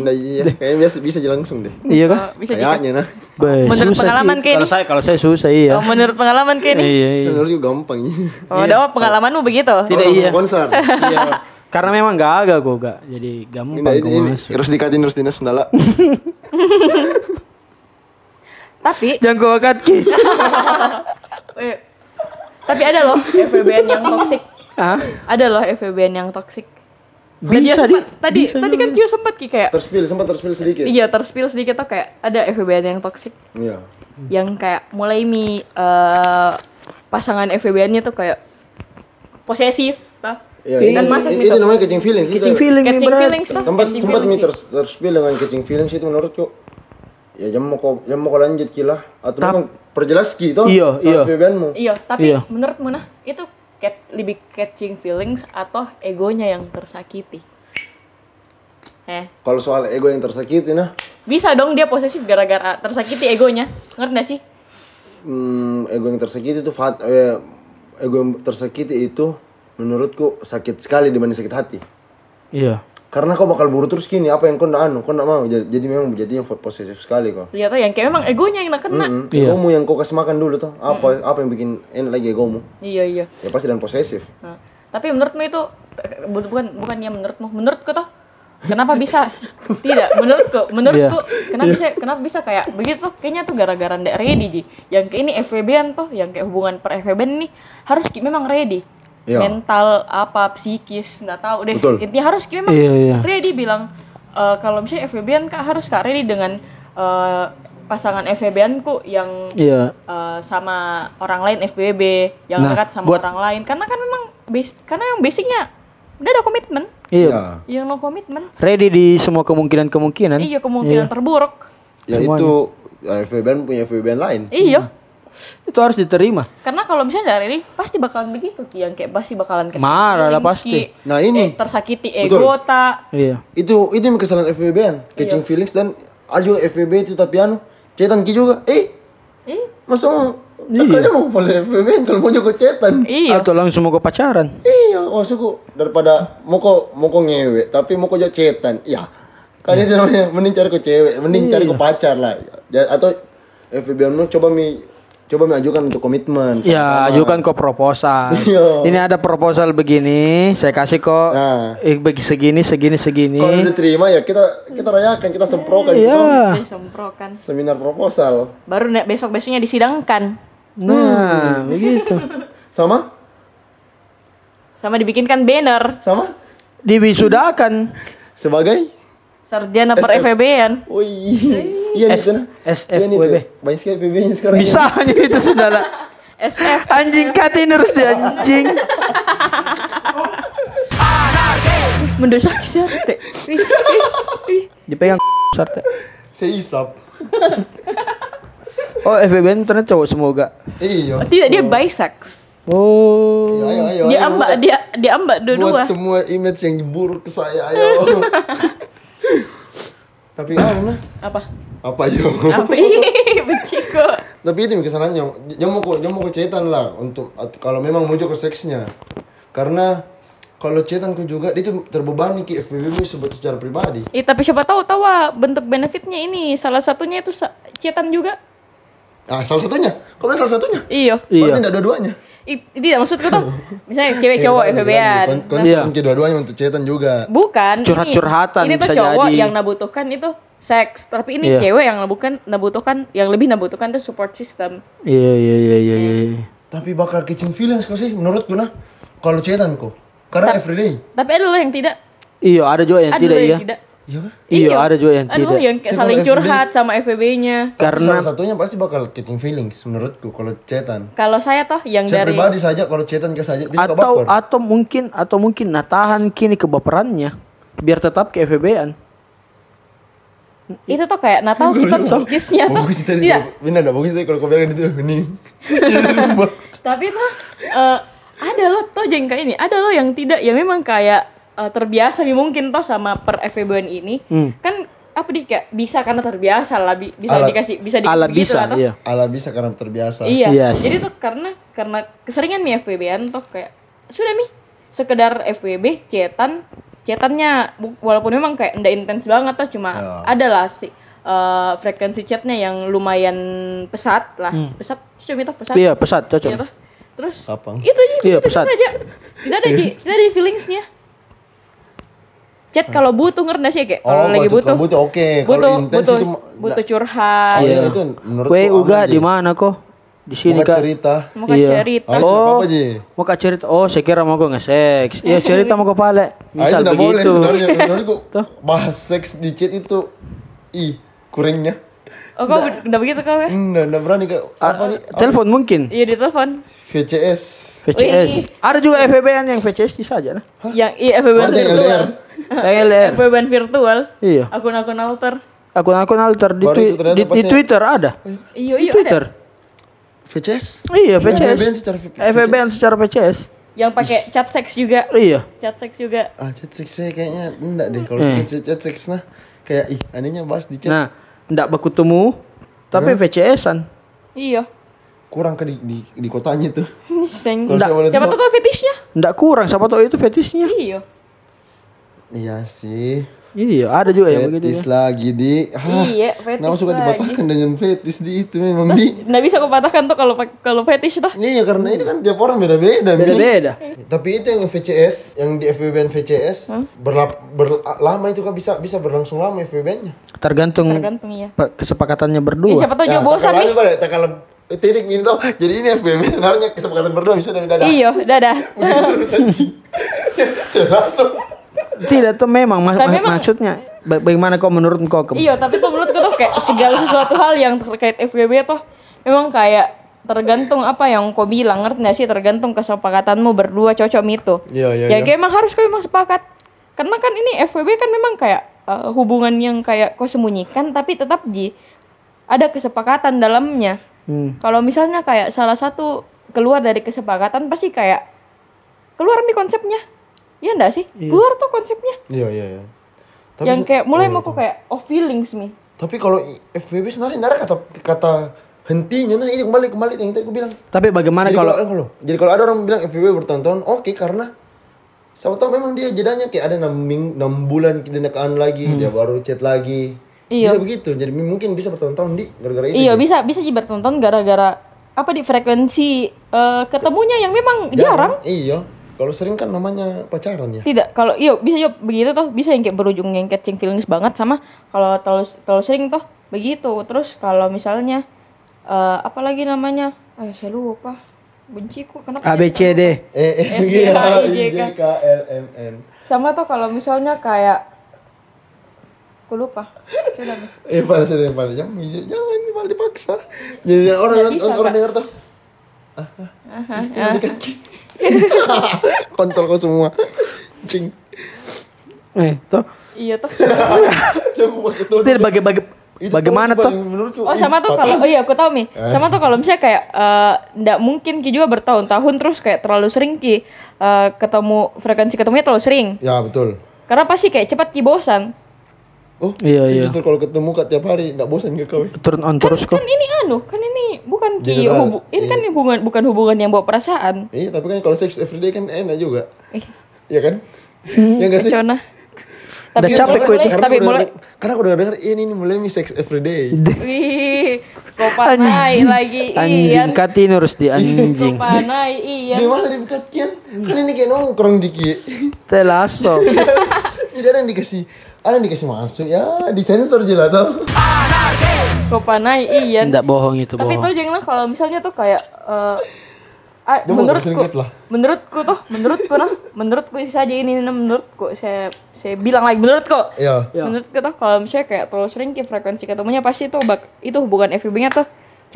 Speaker 1: Nah, iya, kayaknya biasa bisa jalan langsung deh.
Speaker 3: Iya kah?
Speaker 2: Bisa jadi.
Speaker 1: Kayaknya nah.
Speaker 3: Be,
Speaker 2: Menurut
Speaker 3: susah
Speaker 2: pengalaman
Speaker 3: sih.
Speaker 2: kayak
Speaker 3: Kalau
Speaker 2: ini.
Speaker 3: saya kalau saya susah iya.
Speaker 2: Oh, menurut pengalaman ki ini.
Speaker 3: Iya, iya.
Speaker 1: Sebenarnya gampang ya.
Speaker 2: Oh, dah, oh, pengalamanmu begitu.
Speaker 3: Tidak
Speaker 1: Orang
Speaker 3: iya.
Speaker 1: mau Konser. Iya.
Speaker 3: Karena memang gak agak gue gak. Jadi gampang
Speaker 1: Ini, ini,
Speaker 3: gue
Speaker 1: ini.
Speaker 3: masuk.
Speaker 1: Terus dikatin terus dinas sendala.
Speaker 2: Tapi
Speaker 3: Jangan gue angkat ki.
Speaker 2: eh, tapi ada loh FBN yang toksik.
Speaker 3: Hah?
Speaker 2: Ada loh FBN yang toksik. Tadi-
Speaker 3: Bisa di.
Speaker 2: Tadi
Speaker 3: bisa
Speaker 2: tadi kan
Speaker 3: juga.
Speaker 2: Cio sempat ki kayak
Speaker 1: Terspil sempat terspil sedikit.
Speaker 2: Iya, terspil sedikit tuh kayak ada FBN yang toksik
Speaker 1: Iya.
Speaker 2: yang kayak mulai mi eh, pasangan FBN-nya tuh kayak posesif, tah.
Speaker 1: Iya.
Speaker 2: Dan
Speaker 1: ini-
Speaker 2: masuk
Speaker 1: ini-
Speaker 2: gitu.
Speaker 1: Itu namanya catching feelings. itu.
Speaker 3: Catching feeling nih
Speaker 2: Catching
Speaker 3: berat.
Speaker 2: feelings tah.
Speaker 1: Tempat
Speaker 2: catching
Speaker 1: sempat
Speaker 2: feelings.
Speaker 1: nih terus terspil dengan catching feelings itu menurut cuk. Ya jam mau kau jam mau kau lanjut kilah atau
Speaker 3: Tap-
Speaker 1: memang perjelas ki toh
Speaker 3: Iya, iya.
Speaker 1: FBN-mu.
Speaker 2: Iya, tapi
Speaker 3: Iya.
Speaker 2: menurut Muna itu cat, lebih catching feelings atau egonya yang tersakiti. Eh,
Speaker 1: Kalau soal ego yang tersakiti nah,
Speaker 2: bisa dong dia posesif gara-gara tersakiti egonya. Ngerti gak sih?
Speaker 1: hmm, ego yang tersakiti itu fat, eh, ego yang tersakiti itu menurutku sakit sekali dibanding sakit hati.
Speaker 3: Iya.
Speaker 1: Karena kau bakal buru terus gini apa yang kau ndak anu, kau ndak mau. Jadi, jadi memang jadinya posesif sekali kau.
Speaker 2: Lihat tuh yang kayak memang egonya yang kena.
Speaker 1: Hmm,
Speaker 3: Iya. Hmm.
Speaker 1: Egomu yang kau kasih makan dulu tuh. Apa apa yang bikin enak lagi egomu?
Speaker 2: Iya, iya.
Speaker 1: Ya pasti dan posesif.
Speaker 2: Nah, tapi menurutmu itu eh, bu- bukan bukan ya menurutmu, menurutku toh kenapa bisa? Tidak, menurutku, menurutku kenapa bisa kenapa bisa kayak begitu? Kayaknya tuh gara-gara ndak ready Ji. Yang ke ini FVB-an tuh, yang kayak hubungan per FVB nih harus ki- memang ready.
Speaker 1: Iya.
Speaker 2: Mental apa psikis nggak tahu deh.
Speaker 1: Betul.
Speaker 2: Intinya harus ki- memang
Speaker 3: Iya, iya.
Speaker 2: ready bilang eh, kalau misalnya FVB-an Kak harus Kak ready dengan eh, pasangan FVB-an ku yang
Speaker 3: Iya.
Speaker 2: eh, sama orang lain FBB yang
Speaker 3: Nah,
Speaker 2: dekat sama
Speaker 3: buat-
Speaker 2: orang lain karena kan memang bas- karena yang basicnya udah ada komitmen
Speaker 3: Iya.
Speaker 1: Ya.
Speaker 2: yang no komitmen
Speaker 3: Ready di semua kemungkinan-kemungkinan.
Speaker 2: iya kemungkinan terburuk
Speaker 1: Ya itu ya, FBN punya FBN lain.
Speaker 3: Hmm.
Speaker 2: iya
Speaker 3: Itu harus diterima.
Speaker 2: karena kalau misalnya dari ini pasti bakalan begitu Ki. yang kayak pasti bakalan kesakiti,
Speaker 3: Marah lah
Speaker 2: Ki.
Speaker 3: pasti.
Speaker 1: Nah, ini.
Speaker 2: Eh, tersakiti
Speaker 1: Betul.
Speaker 2: ego tak
Speaker 3: Iya.
Speaker 1: Itu itu yang kesalahan FBN, catching feelings dan ada juga FBB itu tapi anu, cetan ki juga. Eh,
Speaker 2: Eh,
Speaker 1: masa mau
Speaker 3: Iya.
Speaker 1: tak kerja mau boleh FBN kalau mau juga cetan.
Speaker 2: iya
Speaker 3: Atau langsung mau ke pacaran.
Speaker 1: Iya, maksudku daripada mau kok mau kok ngewe tapi mau kok jadi cetan. Iya. Kan itu namanya mending cari ke cewek, mending cari
Speaker 3: Iya.
Speaker 1: ke pacar lah. Ja- Atau FBN lu coba mi coba mi ajukan untuk komitmen.
Speaker 3: Ya,
Speaker 1: sama-sama.
Speaker 3: ajukan kok proposal.
Speaker 1: Iya.
Speaker 3: Ini ada proposal begini, saya kasih kok
Speaker 1: Nah.
Speaker 3: eh, bagi segini, segini, segini.
Speaker 1: Kalau diterima ya kita kita rayakan, kita semprokan gitu.
Speaker 3: Iya.
Speaker 2: Dia semprokan
Speaker 1: Seminar proposal.
Speaker 2: baru besok besoknya disidangkan
Speaker 1: Hmm.
Speaker 3: Nah, begitu.
Speaker 1: Sama?
Speaker 2: sama dibikinkan banner
Speaker 1: Sama?
Speaker 3: Diwisudakan
Speaker 1: Sebagai?
Speaker 2: sarjana per
Speaker 1: SF.
Speaker 2: FBB-an
Speaker 1: Woi. Iya nih
Speaker 3: S-
Speaker 1: sana. Iya nih
Speaker 3: SFWB.
Speaker 1: tuh. Banyak sekali FWB-nya sekarang.
Speaker 3: bisa hanya itu sudah lah.
Speaker 2: SF
Speaker 3: Anjing katin harus di anjing.
Speaker 2: mendesak sih Arte. Wih, wih, wih.
Speaker 3: Dipegang sarte.
Speaker 1: Saya isap.
Speaker 3: Oh, FBN ternyata cowok semoga.
Speaker 1: Iya.
Speaker 2: Tidak dia bisex.
Speaker 3: Oh.
Speaker 1: Ayo, ayo, ayo.
Speaker 2: Dia ambak dia dia ambak dua-dua.
Speaker 1: Buat semua image yang buruk ke saya, ayo. Tapi mana?
Speaker 2: Apa?
Speaker 1: Apa yo?
Speaker 2: Apa? Benci kok.
Speaker 1: Tapi itu kesanannya. Dia mau kok, dia mau kok cetan lah untuk at- kalau memang mau ke seksnya. Karena kalau cetan ku juga dia tuh terbebani ki FBB sebut secara pribadi.
Speaker 2: Eh, tapi siapa tahu tahu ah, bentuk benefitnya ini salah satunya itu sa- cetan juga.
Speaker 1: Ah, salah satunya. Kau bilang salah satunya?
Speaker 2: Iya.
Speaker 1: Berarti
Speaker 3: Iya.
Speaker 1: tidak dua-duanya.
Speaker 2: I- Tidak maksudku tuh. Misalnya cewek cowok FBB-an.
Speaker 1: Kon
Speaker 3: Iya.
Speaker 1: kon- kan dua-duanya untuk cetan juga.
Speaker 2: Bukan. ini-
Speaker 3: Curhat-curhatan
Speaker 2: Ini tuh
Speaker 3: bisa
Speaker 2: cowok
Speaker 3: jadi.
Speaker 2: yang nabutuhkan itu seks, tapi ini
Speaker 3: Iya.
Speaker 2: cewek yang nabutuhkan nabutuhkan yang lebih nabutuhkan itu support system.
Speaker 3: Iya, iya, iya, iya, iya.
Speaker 1: Tapi bakal catching feelings kok sih menurutku nah. Kalau cetan kok. Karena everyday.
Speaker 2: Tapi ada loh yang tidak.
Speaker 3: Iya, ada juga yang
Speaker 2: Ada
Speaker 3: tidak
Speaker 2: loh yang
Speaker 3: iya.
Speaker 2: tidak.
Speaker 1: Iya kan?
Speaker 3: Iya, ada juga yang
Speaker 2: Ada loh
Speaker 3: tidak.
Speaker 2: yang kayak
Speaker 1: Siapa
Speaker 2: saling
Speaker 1: FBB?
Speaker 2: curhat sama FBB-nya.
Speaker 1: Tapi
Speaker 3: Karena
Speaker 1: salah satunya pasti bakal catching feelings menurutku kalau cetan.
Speaker 2: Kalau saya toh yang
Speaker 1: Saya
Speaker 2: dari
Speaker 1: pribadi saja kalau cetan ke saja bisa
Speaker 3: atau
Speaker 1: baper.
Speaker 3: atau mungkin atau mungkin nah tahan kini kebaperannya biar tetap ke FBB-an.
Speaker 2: Iya. itu tuh kayak Natal kita psikisnya tuh Iya.
Speaker 1: Bagus sih Oh, iya, tadi.
Speaker 2: tidak.
Speaker 1: Benar dah bagus tadi kalau kau bilang itu ini. Ini rumah.
Speaker 2: Tapi mah eh, ada loh toh jengka ini, ada loh yang tidak ya memang kayak eh, terbiasa nih mungkin toh sama per FBN ini. Kan apa di kayak bisa karena terbiasa lah bi- bisa
Speaker 1: Alat-
Speaker 2: dikasih bisa dikasih
Speaker 3: Ala
Speaker 2: begitu
Speaker 3: bisa,
Speaker 2: lah toh.
Speaker 3: iya.
Speaker 1: Ala bisa karena terbiasa.
Speaker 2: Iya.
Speaker 3: Yes.
Speaker 2: Jadi tuh karena karena keseringan nih FWB-an tuh kayak sudah nih sekedar FWB cetan cetannya bu- walaupun memang kayak ndak intens banget tuh cuma
Speaker 1: Ya.
Speaker 5: Iya.
Speaker 2: ada lah si eh, frekuensi chatnya yang lumayan pesat lah pesat cuma itu pesat
Speaker 3: Hmm. Iya, pesat cocok.
Speaker 2: Iya, toh. terus
Speaker 1: Apa?
Speaker 2: itu aja
Speaker 3: Iya,
Speaker 2: itu
Speaker 3: pesat.
Speaker 2: aja tidak ada Ji. tidak ada feelingsnya Chat kalau butuh ngerti nggak sih kayak
Speaker 5: Oh,
Speaker 2: kalau lagi
Speaker 5: kalau
Speaker 2: butuh.
Speaker 5: butuh, oke. Kalau
Speaker 2: Butuh,
Speaker 5: intens
Speaker 2: butuh,
Speaker 5: itu ma-
Speaker 2: butuh
Speaker 1: nah,
Speaker 5: nggak-
Speaker 2: curhat.
Speaker 5: Oh, iya, itu menurut
Speaker 3: Kue
Speaker 5: gua
Speaker 3: uga
Speaker 5: aman, Ji.
Speaker 3: di mana kok? Di sini
Speaker 5: Bukan
Speaker 3: kak.
Speaker 5: cerita.
Speaker 2: Mau
Speaker 3: Iya.
Speaker 2: kan cerita.
Speaker 5: Oh, nggak apa-apa, Ji.
Speaker 3: mau kak cerita. Oh, saya kira mau gue nge-sex. Iya cerita mau kepala.
Speaker 1: Ah,
Speaker 3: Misal
Speaker 1: itu nggak boleh
Speaker 3: begitu.
Speaker 1: sebenarnya. Menurut gua, bahas seks di chat itu ih kuringnya.
Speaker 2: Oh, kau udah begitu kau ya?
Speaker 1: Nggak, nggak berani kayak apa
Speaker 3: Ah.
Speaker 1: nih?
Speaker 2: Eh,
Speaker 3: Telepon mungkin.
Speaker 2: Iya di telepon.
Speaker 1: VCS.
Speaker 3: VCS. Ada juga FBN yang VCS di saja nah.
Speaker 2: Yang iya FBN
Speaker 1: Berarti
Speaker 2: virtual.
Speaker 1: LDR.
Speaker 3: Yang LR.
Speaker 2: FBN virtual.
Speaker 3: Iya.
Speaker 2: Akun-akun alter.
Speaker 3: Akun-akun alter di,
Speaker 1: Baru
Speaker 3: twi-
Speaker 1: itu ternyata
Speaker 3: di- di
Speaker 1: pasti-
Speaker 3: Twitter ada.
Speaker 2: Iya,
Speaker 3: Di
Speaker 2: iya ada.
Speaker 3: Twitter.
Speaker 1: VCS.
Speaker 3: Iya, VCS.
Speaker 1: FBN secara v-
Speaker 3: FBN secara VCS.
Speaker 2: Yang pakai chat seks juga.
Speaker 3: Iya.
Speaker 2: Chat seks juga.
Speaker 1: Ah, chat seksnya kayaknya enggak deh kalau hmm. chat chat seks nah kayak ih anehnya bahas di chat
Speaker 3: Nah, ndak berketemu tapi VCS-an.
Speaker 2: Iya.
Speaker 1: kurang ke di, di, di kotanya tuh.
Speaker 2: Seng.
Speaker 1: Kalau saya boleh
Speaker 2: Siapa
Speaker 1: tahu-
Speaker 2: tuh kau fetishnya?
Speaker 3: Ndak kurang siapa tahu itu fetishnya.
Speaker 2: Iya.
Speaker 1: Iya sih.
Speaker 3: Iya, ada juga yang begitu.
Speaker 1: Fetis lagi di. Hah,
Speaker 2: Iya, fetis
Speaker 1: Kenapa suka
Speaker 2: lagi.
Speaker 1: dipatahkan dengan fetis di itu memang di.
Speaker 2: Nggak bisa kau patahkan tuh kalau pak- kalau fetish tuh.
Speaker 1: Iya karena itu kan tiap orang beda-beda. Mi.
Speaker 3: Beda-beda.
Speaker 1: Tapi itu yang VCS, yang di FVBN VCS
Speaker 2: Hmm?
Speaker 1: berlap- berlama itu kan bisa bisa berlangsung lama FVBN-nya.
Speaker 3: Tergantung,
Speaker 2: Tergantung ya.
Speaker 3: pe- kesepakatannya
Speaker 2: Iya,
Speaker 3: berdua.
Speaker 2: siapa tahu juga bosan nih.
Speaker 1: Ya, Nah, Tak kalah titik ini tau. Jadi ini FVBN sebenarnya kesepakatan berdua bisa dari dada.
Speaker 2: Iya, dadah.
Speaker 1: Begitu terus anjing. Ya, Langsung.
Speaker 3: Tidak tuh memang ma-
Speaker 2: Tapi
Speaker 3: ma-
Speaker 2: memang-
Speaker 3: maksudnya ba- bagaimana kau menurut kau ke-
Speaker 2: Iya, tapi tuh menurutku tuh kayak segala sesuatu hal yang terkait FBB tuh memang kayak tergantung apa yang kau bilang ngerti nggak sih tergantung kesepakatanmu berdua cocok itu.
Speaker 1: Iya, iya,
Speaker 2: Ya
Speaker 1: iya.
Speaker 2: kayak emang harus kau emang sepakat. Karena kan ini FBB kan memang kayak eh, hubungan yang kayak kau sembunyikan tapi tetap di ada kesepakatan dalamnya.
Speaker 1: Hmm.
Speaker 2: Kalau misalnya kayak salah satu keluar dari kesepakatan pasti kayak keluar nih konsepnya. Iya enggak sih? Keluar tuh konsepnya.
Speaker 1: Iya iya iya. Tapi se-
Speaker 2: yang kayak
Speaker 1: iya,
Speaker 2: mulai mau kok kayak oh feelings nih.
Speaker 1: Tapi kalau i- FVB sebenarnya nara kata kata hentinya nah itu kembali kembali yang tadi aku bilang.
Speaker 3: Tapi bagaimana
Speaker 1: Jadi
Speaker 3: kalau
Speaker 1: kalau, kalau- jadi kalau ada orang bilang FVB bertahun-tahun, oke karena sama tahu memang dia jedanya kayak ada 6, ming, 6 bulan dendekaan lagi, dia baru chat lagi.
Speaker 2: Iya.
Speaker 1: Bisa begitu. Jadi mungkin bisa bertahun-tahun di gara-gara itu. Di.
Speaker 2: Iya bisa bisa jibar tonton gara-gara apa di frekuensi eh, ketemunya yang memang jarang.
Speaker 1: Iya. Kalau sering kan namanya pacaran ya.
Speaker 2: Tidak kalau iya bisa juga begitu tuh bisa yang kayak berujung yang catching feelings banget sama kalau terlalu terlalu sering tuh begitu. Terus kalau misalnya eh, apa lagi namanya? Ayo saya lupa. Benci kok kenapa? ya?
Speaker 3: A B C D
Speaker 1: E F G H I J K L M N.
Speaker 2: Sama tuh kalau misalnya kayak aku lupa. Sudah, Bang.
Speaker 1: Eh pada sering pada jangan jangan malah dipaksa. Jadi orang orang, orang dengar tuh. Ah, ah, di kaki. Kontol kau semua. Cing.
Speaker 3: Eh, tuh.
Speaker 2: Iya tuh.
Speaker 1: Yang gua pakai tuh.
Speaker 3: Tidak baga- baga-
Speaker 1: Itu
Speaker 3: bagaimana
Speaker 1: paling-
Speaker 3: tuh?
Speaker 1: paling menurutku,
Speaker 2: Oh
Speaker 1: ih,
Speaker 2: sama tuh
Speaker 1: patah.
Speaker 2: kalau oh iya aku tahu Mi.
Speaker 3: Eh.
Speaker 2: Sama tuh kalau misalnya kayak eh, ndak mungkin Ki juga bertahun-tahun terus kayak terlalu sering Ki eh, ketemu frekuensi ketemunya terlalu sering.
Speaker 1: Ya betul.
Speaker 2: Karena pasti kayak cepat Ki bosan.
Speaker 1: Oh,
Speaker 3: Iya,
Speaker 1: sih
Speaker 3: iya.
Speaker 1: justru kalau ketemu kak tiap hari enggak bosan gak kau? ya?
Speaker 3: Turn on
Speaker 2: Kan,
Speaker 3: terus kok. iya.
Speaker 2: kan ini anu, kan ini bukan Ki
Speaker 1: General.
Speaker 2: hubu- ini kan hubungan bukan hubungan yang bawa perasaan.
Speaker 1: Iya, tapi kan kalau seks everyday kan enak juga.
Speaker 2: Ih,
Speaker 1: Iya kan?
Speaker 2: Hmm,
Speaker 1: Iya enggak sih?
Speaker 2: Kecona.
Speaker 3: Udah
Speaker 2: Tapi
Speaker 3: capek
Speaker 1: Karena-
Speaker 3: gue
Speaker 2: boleh,
Speaker 1: karena
Speaker 2: tapi
Speaker 1: aku udah
Speaker 2: boleh.
Speaker 1: denger- Karena aku udah denger ini nih mulai mi seks everyday.
Speaker 2: Wih, kau panai kan lagi. Iya.
Speaker 3: Anjing katin harus di anjing.
Speaker 2: Panai iya.
Speaker 1: Di masa di kan? Kan ini kayak nongkrong dikit.
Speaker 3: Telaso.
Speaker 1: Jadi ada yang dikasih, ada yang dikasih masuk ya, disensor je lah tau.
Speaker 2: Kau panai iya.
Speaker 3: Tidak Kan bohong itu
Speaker 2: Tapi itu
Speaker 3: bohong.
Speaker 2: jangan kalau misalnya tuh kayak eh, ah,
Speaker 1: Dia mau
Speaker 2: menurutku,
Speaker 1: singkat lah.
Speaker 2: menurutku tuh, menurutku tuh, menurutku saja ini nah, menurutku saya saya bilang lagi menurutku.
Speaker 1: Iya.
Speaker 3: Ya.
Speaker 2: Menurutku tuh kalau misalnya kayak terlalu sering kayak frekuensi ketemunya pasti tuh bak, itu hubungan FBB-nya tuh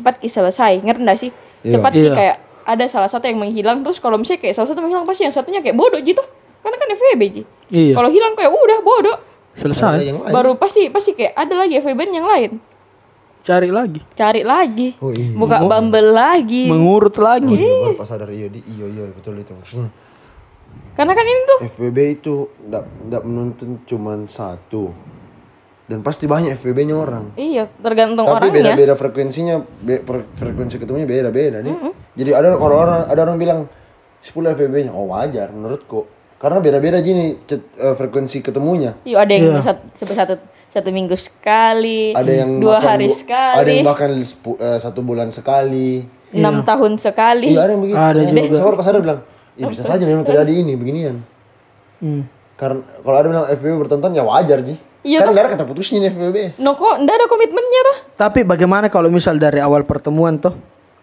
Speaker 2: cepat ki selesai, ngerti nggak sih?
Speaker 1: Iya.
Speaker 2: Cepat ki
Speaker 3: Iya.
Speaker 2: kayak ada salah satu yang menghilang terus kalau misalnya kayak salah satu menghilang pasti yang satunya kayak bodoh gitu. Karena kan FBB Ji.
Speaker 3: Iya.
Speaker 2: Kalau hilang kayak udah bodoh.
Speaker 1: Ada
Speaker 3: Selesai.
Speaker 1: yang lain.
Speaker 2: Baru pasti pasti kayak ada lagi FBB yang lain.
Speaker 3: Cari lagi.
Speaker 2: Cari lagi.
Speaker 1: Oh, iya.
Speaker 2: Buka Bumble lagi.
Speaker 3: Mengurut lagi.
Speaker 1: Iya, baru pas sadar iya, di, iya iya betul itu maksudnya.
Speaker 2: Karena kan ini tuh
Speaker 1: FWB itu ndak ndak menuntun cuman satu. Dan pasti banyak FWB-nya orang.
Speaker 2: Iya, tergantung
Speaker 1: Tapi
Speaker 2: orangnya.
Speaker 1: beda-beda frekuensinya, be- pre- frekuensi ketemunya beda-beda nih. Jadi ada orang-orang ada orang bilang 10 FWB-nya. Oh, wajar menurutku. Karena beda-beda gini cet- eh, frekuensi ketemunya.
Speaker 2: Iya, ada yang sat- sampai satu satu minggu sekali,
Speaker 1: Ada yang
Speaker 2: dua
Speaker 1: bahkan
Speaker 2: hari
Speaker 1: du-
Speaker 2: sekali,
Speaker 1: Ada
Speaker 3: Iya.
Speaker 1: yang bahkan sepu- eh, satu bulan sekali.
Speaker 2: enam tahun sekali.
Speaker 1: Iya ada yang begitu.
Speaker 3: Ada
Speaker 1: Saya baru pas ada bilang, ya bisa saja memang terjadi ini beginian.
Speaker 3: Hmm.
Speaker 1: Karena kalau ada bilang FBB bertentangan ya wajar sih.
Speaker 2: Iya,
Speaker 1: Karena nggak ada kata putusnya nih FBB.
Speaker 2: No kok, ndak ada komitmennya toh?
Speaker 3: Tapi bagaimana kalau misal dari awal pertemuan toh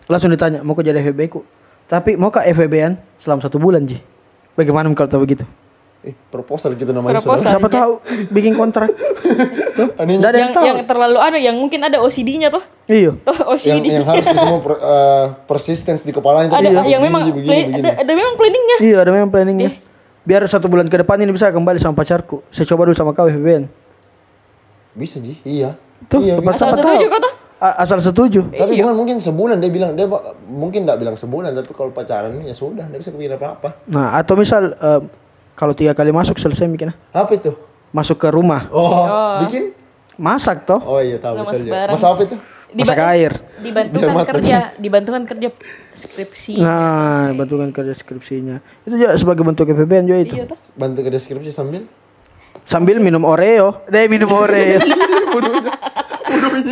Speaker 3: langsung ditanya mau kok jadi FVB ku? Tapi mau kah FVB-an selama satu bulan Ji? Bagaimana kalau tahu begitu?
Speaker 1: Eh, proposal gitu namanya.
Speaker 2: Proposal.
Speaker 3: Siapa
Speaker 2: Soalnya-
Speaker 3: tahu bikin kontrak? Tuh,
Speaker 1: Aneh.
Speaker 3: nggak ada yang,
Speaker 2: Yang
Speaker 3: tahu.
Speaker 2: yang terlalu anu yang mungkin ada OCD-nya toh. Oh,
Speaker 3: Iya.
Speaker 2: Toh
Speaker 1: Yang,
Speaker 2: OCD.
Speaker 1: yang harus di semua per, eh, persistence di kepalanya
Speaker 2: ada
Speaker 1: Iya, begini,
Speaker 2: yang memang
Speaker 1: begini,
Speaker 2: plan-
Speaker 1: begini.
Speaker 2: ada, ada memang planningnya.
Speaker 3: Iya, ada memang planningnya. Biar satu bulan ke depan ini bisa kembali sama pacarku. Saya coba dulu sama kau FVB-an.
Speaker 1: Bisa sih, iya.
Speaker 3: Tuh,
Speaker 1: iya,
Speaker 3: tepat
Speaker 1: bisa.
Speaker 3: sama
Speaker 2: Asal
Speaker 3: tahu.
Speaker 2: setuju kok tuh.
Speaker 3: A- Asal setuju.
Speaker 1: Tapi
Speaker 2: Iya.
Speaker 1: bukan mungkin sebulan dia bilang dia bak- mungkin nggak bilang sebulan tapi kalau pacaran ya sudah nggak bisa kepikiran apa apa.
Speaker 3: Nah, atau misal eh, kalau tiga kali masuk selesai bikin ah.
Speaker 1: Apa itu?
Speaker 3: masuk ke rumah
Speaker 1: Oh, bikin?
Speaker 3: masak toh
Speaker 1: Oh iya tahu
Speaker 2: Nah,
Speaker 1: betul
Speaker 2: mas
Speaker 1: ya.
Speaker 2: bareng.
Speaker 1: Mas apa itu?
Speaker 3: masak
Speaker 2: Diba-
Speaker 3: air.
Speaker 2: Dibantukan
Speaker 1: Biar matang.
Speaker 2: kerja, dibantukan kerja skripsi.
Speaker 3: Nah, bantukan kerja skripsinya. Itu juga sebagai bentuk FVB-an juga itu.
Speaker 2: Iya toh.
Speaker 1: Bantu ke deskripsi sambil
Speaker 3: Sambil minum Oreo. Deh minum Oreo.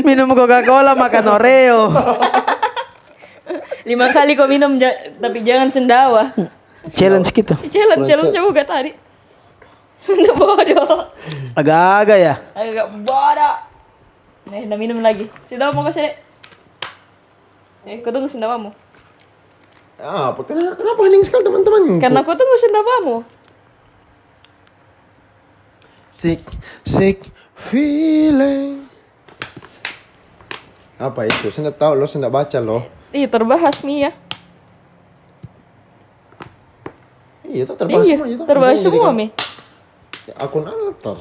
Speaker 3: minum Coca-Cola makan Oreo.
Speaker 2: Lima kali kau minum ja- tapi jangan sendawa.
Speaker 3: Challenge gitu.
Speaker 2: Challenge challenge coba gak tadi. Udah bodoh.
Speaker 3: Agak-agak ya.
Speaker 2: Agak bodoh. Nih, udah minum lagi. Sudah mau kasih. Eh, kau tunggu sendawamu.
Speaker 1: Ah, apa kenapa, kenapa hening sekali teman-teman?
Speaker 2: Karena kau tunggu sendawamu.
Speaker 1: sick sick feeling. Apa itu? Saya nggak tahu lo, saya nggak baca lo.
Speaker 2: Ih, ya. terbahas Mia.
Speaker 1: Iya, itu terbahas
Speaker 2: iya,
Speaker 1: semua itu. kan.
Speaker 2: terbahas
Speaker 1: Maksudnya jadi
Speaker 2: semua,
Speaker 1: kalau-
Speaker 2: Mi.
Speaker 1: Ya, akun alter.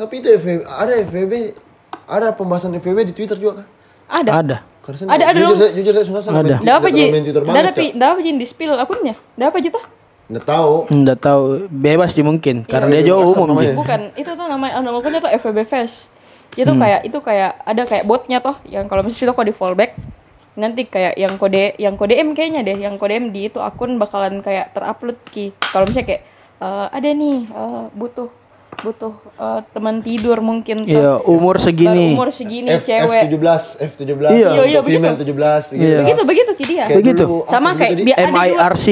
Speaker 1: Tapi itu FVB, ada FVB, ada pembahasan FVB di Twitter juga kan?
Speaker 2: Ada.
Speaker 3: Ada.
Speaker 1: Karena saya
Speaker 2: Ada,
Speaker 1: nggak-
Speaker 2: ada
Speaker 1: jujur
Speaker 2: dong.
Speaker 1: saya, jujur saya sebenarnya saya nggak
Speaker 3: Ada.
Speaker 1: main-
Speaker 2: Nggak apa,
Speaker 1: nggak
Speaker 2: Ji?
Speaker 1: terlalu main Twitter
Speaker 2: Nggak
Speaker 1: banget.
Speaker 2: apa, Ji?
Speaker 1: Cak.
Speaker 2: Nggak apa, Ji? Di-spill akunnya. Nggak apa, Ji, toh?
Speaker 1: Nggak tahu.
Speaker 3: Hmm, Nggak tahu bebas sih mungkin karena dia
Speaker 1: Iya,
Speaker 3: jauh
Speaker 1: bebas
Speaker 3: umum
Speaker 1: namanya.
Speaker 3: sih.
Speaker 2: Bukan, itu tuh nama nama akunnya tuh FVB Fest. Itu
Speaker 3: Hmm.
Speaker 2: kayak itu kayak ada kayak botnya toh yang kalau misalnya kau di fallback nanti kayak yang kode yang kode M kayaknya deh, yang kode M di itu akun bakalan kayak terupload ki. Kalau misalnya kayak eh, ada nih eh, butuh butuh eh, teman tidur mungkin toh.
Speaker 3: Iya, umur segini.
Speaker 2: Umur segini
Speaker 1: F,
Speaker 2: cewek.
Speaker 1: F17, F17,
Speaker 3: Iya.
Speaker 1: untuk
Speaker 2: Iya, iya,
Speaker 1: female
Speaker 2: begitu.
Speaker 1: 17 gitu.
Speaker 3: Iya.
Speaker 2: Begitu begitu ki dia.
Speaker 1: Kayak
Speaker 3: Begitu.
Speaker 1: dulu, apa
Speaker 2: Sama
Speaker 1: dulu
Speaker 2: kayak
Speaker 1: tadi?
Speaker 2: dia- ada Ya, juga-
Speaker 3: MIRC.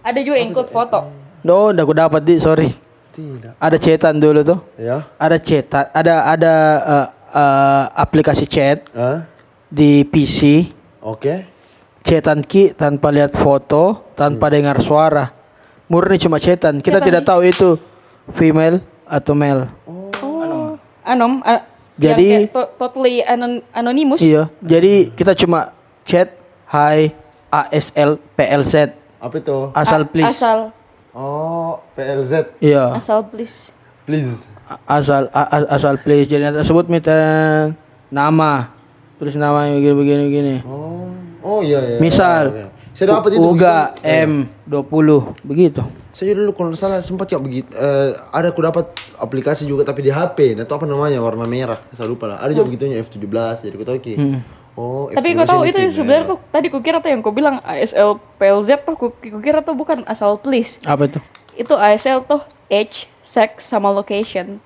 Speaker 2: Ada juga yang include foto.
Speaker 3: No, udah aku dapat di, sorry.
Speaker 1: Tidak.
Speaker 3: Ada cetan dulu tuh.
Speaker 1: Ya.
Speaker 3: Ada cetan, ada ada eh, eh, aplikasi chat
Speaker 1: Hah?
Speaker 3: di PC.
Speaker 1: Oke.
Speaker 3: cetan ki tanpa lihat foto, tanpa dengar suara. Murni cuma cetan. Kita tidak tahu itu female atau male.
Speaker 2: Oh. Anom. a- yang
Speaker 3: Jadi-
Speaker 2: kayak to- totally anon anonymous.
Speaker 3: Iya. Jadi kita cuma chat hi ASL PLZ
Speaker 1: Apa itu?
Speaker 3: asal please.
Speaker 2: Asal
Speaker 1: Oh, PLZ.
Speaker 3: Iya.
Speaker 2: asal please.
Speaker 1: Please.
Speaker 3: A- Asal a- a- asal please. Jadi nanti sebut minta nama. Terus namanya begini begini begini.
Speaker 1: Oh. Oh iya iya. Oke, oke.
Speaker 3: Misal
Speaker 1: Saya dapat itu. Iya.
Speaker 3: Uga
Speaker 1: begitu. Iya.
Speaker 3: M20 begitu.
Speaker 1: Saya dulu kalau nggak salah sempat kayak begitu. eh, ada aku dapat aplikasi juga tapi di HP. Nah, itu apa namanya warna merah. Saya lupa lah. Ada juga begitunya F17 jadi kota oke.
Speaker 3: Hmm.
Speaker 1: Oh, F17
Speaker 2: Hmm. Tapi kau tahu
Speaker 1: ini
Speaker 2: itu
Speaker 1: female.
Speaker 2: sebenarnya tuh tadi kukira tuh yang kau bilang ASL PLZ tuh ku- kukira tuh bukan asal please.
Speaker 3: Apa itu?
Speaker 2: Itu ASL tuh age, sex sama location.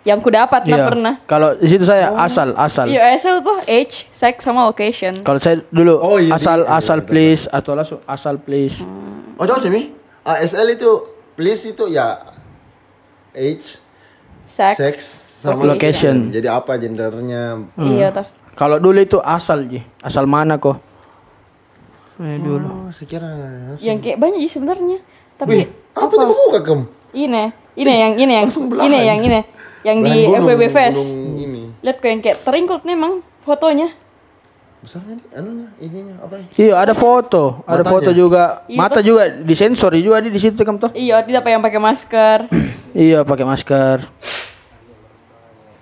Speaker 2: Yang ku dapat nah
Speaker 3: Iya.
Speaker 2: pernah.
Speaker 3: Kalau di situ saya
Speaker 1: Oh.
Speaker 3: asal asal.
Speaker 2: Iya ASL tuh age, sex sama location.
Speaker 3: Kalau saya dulu
Speaker 1: Oh, iya,
Speaker 3: asal
Speaker 1: iya, iya,
Speaker 3: asal please atau langsung asal please.
Speaker 1: Oh, tahu sih, Mi? ASL itu please itu ya age,
Speaker 2: Sex.
Speaker 1: sex, sama
Speaker 3: Location.
Speaker 1: Jadi apa gendernya?
Speaker 2: Iya tuh.
Speaker 3: Kalau dulu itu asal ji, asal mana kok? Eh, dulu.
Speaker 1: Oh, sekiranya.
Speaker 2: Yang kayak banyak sih sebenarnya.
Speaker 1: Wih,
Speaker 2: Tapi
Speaker 1: apa tuh kamu buka kem?
Speaker 2: ini, ini yang ini yang
Speaker 1: Langsung belahan.
Speaker 2: ini yang ini yang di
Speaker 1: Belahan gunung,
Speaker 2: FWB Fest.
Speaker 1: gunung ini.
Speaker 2: Lihat kau yang kayak teringkut memang fotonya.
Speaker 1: Besarnya nih, anunya, ininya apa ya?
Speaker 3: Iya, ada foto, ada
Speaker 1: Matanya.
Speaker 3: foto juga,
Speaker 2: Iya, Pak.
Speaker 3: mata juga disensor juga di di situ kamu tuh.
Speaker 2: Iya, tidak apa yang pakai masker.
Speaker 3: Iya, pakai masker.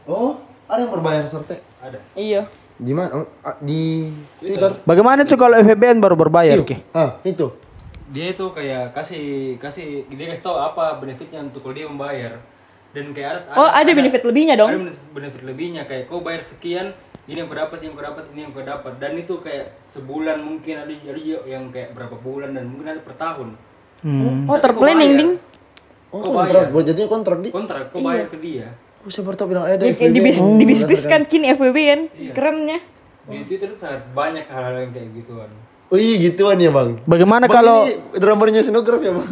Speaker 1: Oh, ada yang berbayar serta.
Speaker 2: iya.
Speaker 1: Di mana? Oh, ah, Di Twitter.
Speaker 3: Bagaimana tuh kalau FBN baru berbayar,
Speaker 1: Oke.
Speaker 3: Ki?
Speaker 1: Ah, itu.
Speaker 6: dia itu kayak kasih kasih dia kasih tahu apa benefitnya untuk kalau dia membayar dan kayak ada
Speaker 2: Oh, ada benefit lebihnya dong?
Speaker 6: ada benefit- benefit lebihnya kayak kau bayar sekian ini yang kau dapat ini yang kau dapat ini yang kau dapat dan itu kayak sebulan mungkin ada ada juga yang kayak berapa bulan dan mungkin ada per tahun
Speaker 2: Oh,
Speaker 6: Tapi kau
Speaker 2: terplanning,
Speaker 6: bayar.
Speaker 2: Ding.
Speaker 1: Oh,
Speaker 6: Kok
Speaker 1: kontrak. Buat jadinya kontrak di.
Speaker 6: kontrak kau bayar
Speaker 2: Iya.
Speaker 6: ke dia
Speaker 1: Oh, saya baru tahu bilang ada
Speaker 2: Di,
Speaker 1: FWB.
Speaker 2: di, bis-
Speaker 1: Oh,
Speaker 2: Eh, dibisniskan kini FWB kan
Speaker 1: Iya.
Speaker 2: kerennya
Speaker 6: di Twitter tuh sangat banyak hal-hal yang kayak gituan
Speaker 1: Wih, gituan ya bang.
Speaker 3: Bagaimana
Speaker 1: Bang,
Speaker 3: kalau
Speaker 1: ini drummernya sinografi ya bang?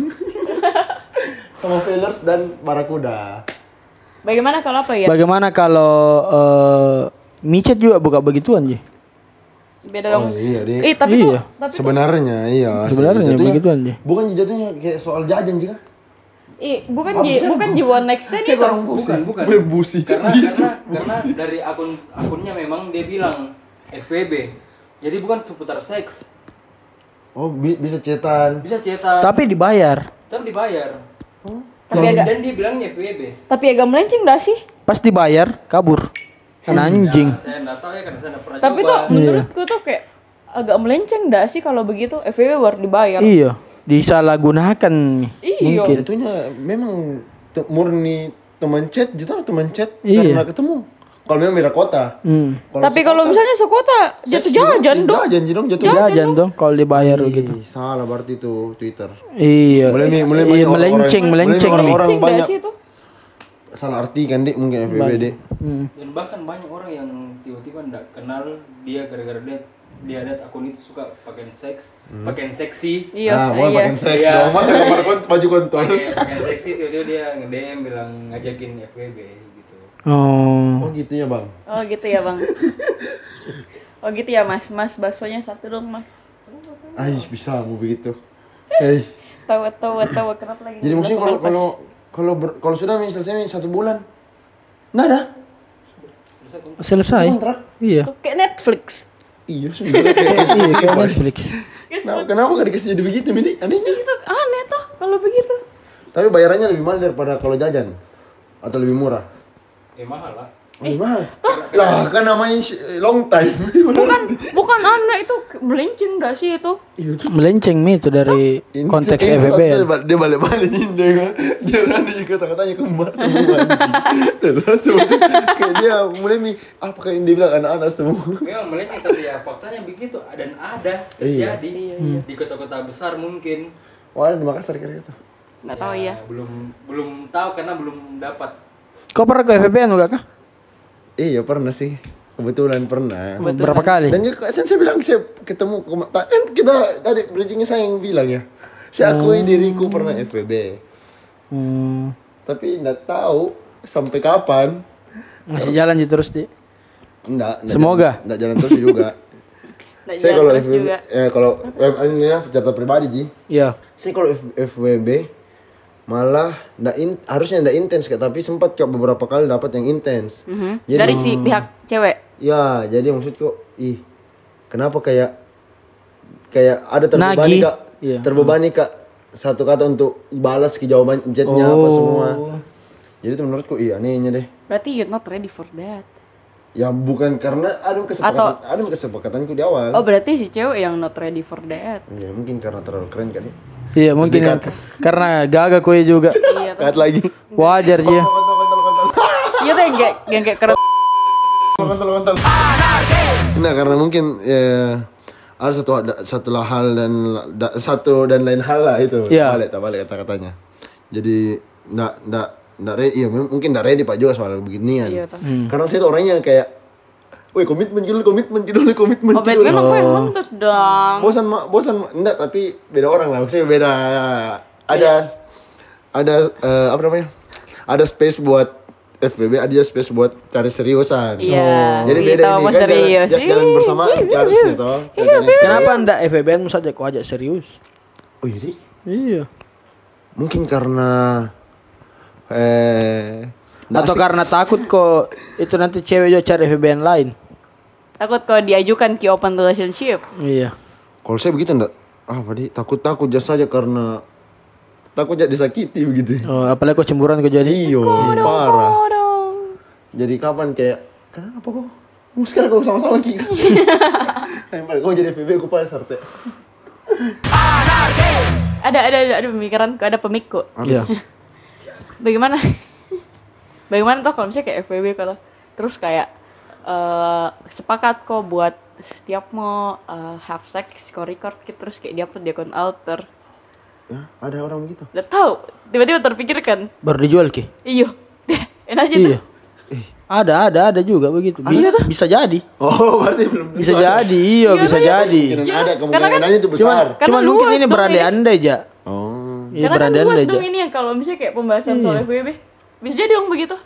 Speaker 7: sama fillers dan barakuda.
Speaker 2: Bagaimana kalau apa ya?
Speaker 3: Bagaimana kalau eh, micet juga buka begituan Ji?
Speaker 2: Beda
Speaker 1: Oh,
Speaker 2: dong.
Speaker 1: iya, Dik.
Speaker 2: Eh, tapi tuh,
Speaker 3: Iya.
Speaker 2: tapi tuh-
Speaker 1: Sebenarnya iya.
Speaker 3: Sebenarnya
Speaker 1: jatuhnya-
Speaker 3: begituan, Ji.
Speaker 1: Bukan jatuhnya kayak soal jajan sih kan?
Speaker 2: Ih, bukan ji, bukan jiwon next ya,
Speaker 7: Kayak
Speaker 2: day itu.
Speaker 7: orang busi.
Speaker 6: bukan bukan
Speaker 7: Gue
Speaker 1: Iya,
Speaker 7: busi.
Speaker 6: karena
Speaker 7: Bisu.
Speaker 6: karena, karena dari akun akunnya memang dia bilang FVB jadi bukan seputar seks
Speaker 1: Oh, bi- bisa cetan.
Speaker 6: bisa cetak tapi,
Speaker 3: Tapi dibayar.
Speaker 6: dibayar
Speaker 2: Tapi
Speaker 6: dan,
Speaker 2: agak
Speaker 6: dan dia bilangnya FVB
Speaker 2: tapi agak melenceng dah sih.
Speaker 3: Pas dibayar kabur. Kan anjing.
Speaker 6: saya nggak tahu ya karena saya nggak pernah
Speaker 2: Tapi
Speaker 6: coba
Speaker 2: tuh menurutku tuh kayak agak melenceng dah sih kalau begitu FVW baru dibayar.
Speaker 3: Iya, disalahgunakan nih,
Speaker 2: Iya.
Speaker 3: mungkin.
Speaker 1: Jatuhnya memang te- murni teman chat, jatuh teman chat
Speaker 3: Iya.
Speaker 1: karena ketemu. Kalau memang beda kota.
Speaker 3: Hmm.
Speaker 2: tapi kalau misalnya sekota jatuh jajan dong.
Speaker 1: Jajan sih dong jatuh.
Speaker 3: Jajan dong kalau dibayar gitu.
Speaker 1: Ih, Salah berarti itu Twitter.
Speaker 3: Iya.
Speaker 1: Mulai nih, mulai
Speaker 3: iya,
Speaker 1: banyak orang-orang-
Speaker 3: melenceng,
Speaker 1: mulai
Speaker 3: melenceng nih.
Speaker 1: orang-orang
Speaker 2: Pusing dah
Speaker 1: banyak
Speaker 2: sih itu.
Speaker 1: salah arti kan Dik mungkin FBB Dik.
Speaker 6: dan bahkan banyak orang yang tiba-tiba nggak kenal dia gara-gara dia dia lihat akun itu suka pakaian seks pakaian seksi
Speaker 2: Iya,
Speaker 1: ah, mulai
Speaker 2: iya.
Speaker 1: pakai seks
Speaker 6: Iya.
Speaker 1: dong. Masa gambar kont baju kontol.
Speaker 6: pakai pakaian seksi tiba-tiba dia nge-DM bilang ngajakin FWB gitu
Speaker 3: Oh.
Speaker 1: Oh gitu ya, Bang.
Speaker 2: Oh gitu ya bang. Oh gitu ya mas, mas baksonya satu dong mas.
Speaker 1: Aih, bisa mau begitu. Eh,
Speaker 2: Tawa tawa tawa kenapa lagi?
Speaker 1: jadi maksudnya kalau kalau kalau ber- kalau sudah misal saya satu bulan. Nada.
Speaker 3: Selesai.
Speaker 1: Kontrak.
Speaker 3: Iya.
Speaker 2: kayak Netflix.
Speaker 1: Iya, sebenarnya kayak
Speaker 3: Iya, kayak Netflix.
Speaker 1: Kenapa, kenapa gak dikasih jadi begitu, Mini? Anehnya.
Speaker 2: Itu aneh tuh kalau begitu.
Speaker 1: Tapi bayarannya lebih mahal daripada kalau jajan atau lebih murah.
Speaker 6: eh mahal lah
Speaker 1: Lebih mahal. Lah, kan namanya sh- long time.
Speaker 2: Bukan bukan aneh itu melenceng dah sih itu.
Speaker 3: Melenceng nih itu dari
Speaker 1: Ini-
Speaker 3: konteks
Speaker 1: ini
Speaker 3: FBB.
Speaker 1: Dia bal- dia balik-balik ini dia kan. Dia ada juga kata-katanya kembar semua. anjing. Terus semua- kayak dia mulai mi apa kayak dia bilang anak-anak semua.
Speaker 6: memang melenceng tapi ya faktanya begitu dan ada
Speaker 1: Iya.
Speaker 6: terjadi
Speaker 2: Hmm.
Speaker 6: di kota-kota besar mungkin
Speaker 1: Wah, di Makassar kira-kira tuh.
Speaker 2: Nggak tahu ya.
Speaker 6: belum belum tahu karena belum dapat
Speaker 3: Kau pernah ke FBB anu gak kah?
Speaker 1: Iya, pernah sih. Kebetulan pernah.
Speaker 3: Berapa kali?
Speaker 1: Dan juga kan saya bilang saya ketemu kema- tak- kan kita dari bridgingnya saya yang bilang ya. Saya akui diriku pernah FBB.
Speaker 3: Hmm.
Speaker 1: Tapi nggak tahu sampai kapan.
Speaker 3: Masih jalan sih terus di.
Speaker 1: Enggak,
Speaker 3: Semoga.
Speaker 1: Enggak jalan terus juga.
Speaker 2: Nggak
Speaker 1: saya
Speaker 2: jalan
Speaker 1: kalau
Speaker 2: terus
Speaker 1: FBB,
Speaker 2: juga.
Speaker 1: eh, kalau eh, ini lah cerita pribadi Ji.
Speaker 3: Iya.
Speaker 1: Saya kalau F- FWB malah nggak in, harusnya nggak intens kayak tapi sempat kayak beberapa kali dapat yang intens.
Speaker 2: Mhm.
Speaker 1: Hmm? Jadi-
Speaker 2: Dari si pihak cewek.
Speaker 1: Ya, jadi maksudku, ih, kenapa kayak kayak ada terbebani
Speaker 3: Nagih.
Speaker 1: kak,
Speaker 3: Iya.
Speaker 1: terbebani kak satu kata untuk balas ke jawaban jetnya apa
Speaker 3: Oh.
Speaker 1: semua. Jadi itu menurutku iya anehnya deh.
Speaker 2: Berarti you're not ready for that.
Speaker 1: Ya bukan karena ada kesepakatan, ada kesepakatanku di awal.
Speaker 2: Oh berarti si cewek yang not ready for that.
Speaker 1: Ya mungkin karena terlalu keren kali.
Speaker 3: Iya mungkin
Speaker 1: Mesti cut.
Speaker 3: karena gagak kue juga.
Speaker 2: Iya tuh.
Speaker 1: Cut lagi.
Speaker 3: Wajar ya. dia.
Speaker 2: Iya tuh yang kayak yang kayak keren.
Speaker 1: Nah karena mungkin ya, ada satu ada- satu lah hal dan da- satu dan lain hal lah itu
Speaker 3: Iya.
Speaker 1: balik tak balik kata katanya. Jadi ndak ndak ndak ready, iya mem- mungkin ndak ready pak juga soal beginian.
Speaker 2: Iya, Pak.
Speaker 1: Karena saya tuh orangnya kayak, woi komitmen gitu, komitmen gitu, komitmen
Speaker 2: Oh
Speaker 1: gitu.
Speaker 2: Batman aku yang nuntut dong.
Speaker 1: Bosan mak, bosan mak. Nggak, tapi beda orang lah. Maksudnya beda
Speaker 2: Iya.
Speaker 1: ada ada eh, apa namanya? Ada space buat FBB, ada space buat cari seriusan.
Speaker 2: Iya.
Speaker 1: Jadi beda
Speaker 2: Kita
Speaker 1: ini
Speaker 2: mau
Speaker 1: kan jalan-
Speaker 2: serius. Iya,
Speaker 1: jalan, jalan bersamaan harus gitu.
Speaker 3: Kenapa anda FBB anu saja kau ajak serius?
Speaker 1: Oh jadi
Speaker 3: Iya.
Speaker 1: mungkin karena eh nggak
Speaker 3: Atau
Speaker 1: asik.
Speaker 3: karena takut kok itu nanti cewek juga cari FBB yang lain.
Speaker 2: Takut kalau diajukan ke open relationship.
Speaker 3: Iya.
Speaker 1: kalau saya begitu enggak ah tadi takut takut jasa aja karena takut jadi disakiti begitu.
Speaker 3: Oh, apalagi kok cemburuan kok jadi.
Speaker 1: Iyo, parah.
Speaker 2: Oh dong.
Speaker 1: jadi kapan kayak kenapa kok Mau sekarang kau sama-sama Ki Lempar kau jadi FBB aku paling sarte
Speaker 2: Ada ada ada, ada pemikiran ada pemikku.
Speaker 3: Iya.
Speaker 2: Bagaimana? Bagaimana tuh kalau misalnya kayak FWB kalau terus kayak eh sepakat kok buat setiap mau eh, have sex kok record gitu terus kayak dia pun dia akun alter.
Speaker 1: ya, Ada orang begitu
Speaker 2: Udah tahu tiba-tiba terpikirkan.
Speaker 3: Baru dijual ki.
Speaker 2: Iyo. Deh, enak aja
Speaker 3: Iya.
Speaker 2: tuh.
Speaker 1: Eh.
Speaker 3: Ada ada ada juga begitu. Bi- bisa jadi.
Speaker 1: Oh berarti belum tentu
Speaker 3: Bisa
Speaker 1: ada.
Speaker 3: jadi. Iya, bisa jadi.
Speaker 2: kan
Speaker 1: Kemungkinan ada kemungkinannya itu besar
Speaker 3: Cuma
Speaker 2: Karena
Speaker 3: mungkin
Speaker 2: luas
Speaker 3: ini
Speaker 2: dong
Speaker 3: berandai
Speaker 2: ini.
Speaker 3: andai ja.
Speaker 1: Oh
Speaker 2: Karena
Speaker 3: Iya,
Speaker 2: kan
Speaker 3: berandaian
Speaker 2: luas
Speaker 3: aja. Iya.
Speaker 2: dong ini yang kalau misalnya kayak pembahasan soal FBB. Bisa jadi dong begitu.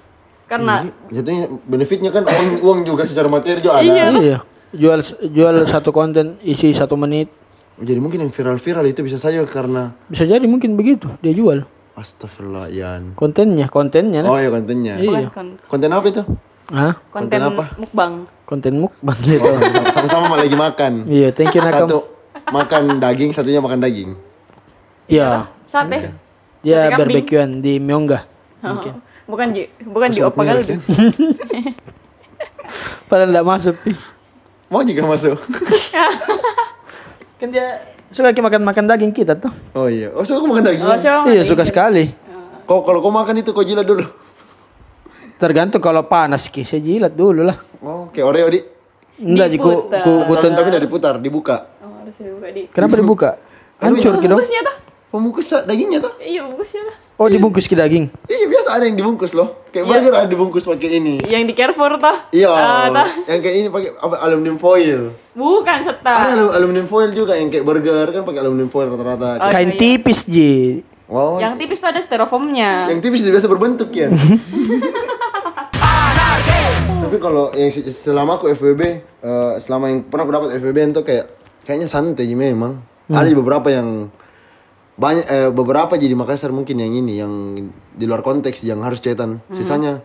Speaker 2: Karena
Speaker 1: Jatuhnya benefitnya kan uang, uang juga secara materi juga ada.
Speaker 2: Iya.
Speaker 3: Iya. Jual jual satu konten isi satu menit.
Speaker 1: Jadi mungkin yang viral-viral itu bisa saja karena
Speaker 3: Bisa jadi mungkin begitu dia jual
Speaker 1: astagfirullah Yan.
Speaker 3: kontennya, kontennya. nah.
Speaker 1: Oh ya kontennya.
Speaker 2: bukan
Speaker 3: Iya.
Speaker 2: kon-
Speaker 1: Konten apa itu?
Speaker 3: Hah?
Speaker 2: konten
Speaker 1: apa?
Speaker 2: mukbang.
Speaker 3: Konten mukbang gitu.
Speaker 1: Sama-sama lagi makan.
Speaker 3: Iya, thank you
Speaker 1: Oh.
Speaker 3: Nakam.
Speaker 1: Satu makan daging, satunya makan daging.
Speaker 3: Iya.
Speaker 2: Sate. Sate
Speaker 3: Dia
Speaker 2: ya? kambing. Oh,
Speaker 3: barbekyuan di Myongga. Mungkin.
Speaker 2: Bukan di bukan di
Speaker 1: Sobat
Speaker 2: Oppa
Speaker 1: Mirror,
Speaker 3: ya?
Speaker 2: Galbi.
Speaker 1: kan?
Speaker 3: Padahal enggak masuk. Pi.
Speaker 1: Mau juga masuk.
Speaker 3: Kan dia suka makan-makan daging kita tuh.
Speaker 1: Oh iya. Oh, suka makan daging.
Speaker 2: Oh, coba
Speaker 3: Iya,
Speaker 2: makan
Speaker 3: suka
Speaker 2: dikit.
Speaker 3: sekali.
Speaker 1: Kok kalau kau makan itu kau jilat dulu.
Speaker 3: Tergantung kalau panas ki, saya jilat dulu lah.
Speaker 1: Oh, kayak Oreo di.
Speaker 3: Enggak, ku,
Speaker 2: Diputar.
Speaker 3: ku, ku
Speaker 1: Tapi,
Speaker 3: tent-
Speaker 1: tapi udah diputar, dibuka.
Speaker 2: Oh, harus dibuka di.
Speaker 3: Kenapa dibuka? Hancur ki dong.
Speaker 2: Bungkusnya tuh.
Speaker 1: Pembungkus dagingnya tuh.
Speaker 2: ya, Iya, bungkusnya tuh.
Speaker 3: Oh, dibungkus ki daging.
Speaker 1: Iya, biasa ada yang dibungkus loh. Kayak burger ada dibungkus pakai ini.
Speaker 2: Yang di Carrefour tuh.
Speaker 1: Iya.
Speaker 2: Ah, tuh.
Speaker 1: yang kayak ini pakai apa aluminium foil.
Speaker 2: Bukan
Speaker 1: Ada
Speaker 2: serta.
Speaker 1: alum- aluminium foil juga yang kayak burger kan pakai aluminium foil rata-rata. Oh,
Speaker 2: Oh,
Speaker 3: Kain
Speaker 2: iya.
Speaker 3: tipis ji.
Speaker 1: Wow.
Speaker 2: Yang tipis tuh ada styrofoamnya.
Speaker 1: Yang tipis itu biasa berbentuk ya. Tapi kalau yang se- selama aku FWB, eh, selama yang pernah aku dapat FWB itu kayak kayaknya santai sih memang.
Speaker 2: Hmm.
Speaker 1: Ada beberapa yang banyak eh, beberapa jadi Makassar mungkin yang ini yang di luar konteks yang harus cetan.
Speaker 2: Hmm.
Speaker 1: Sisanya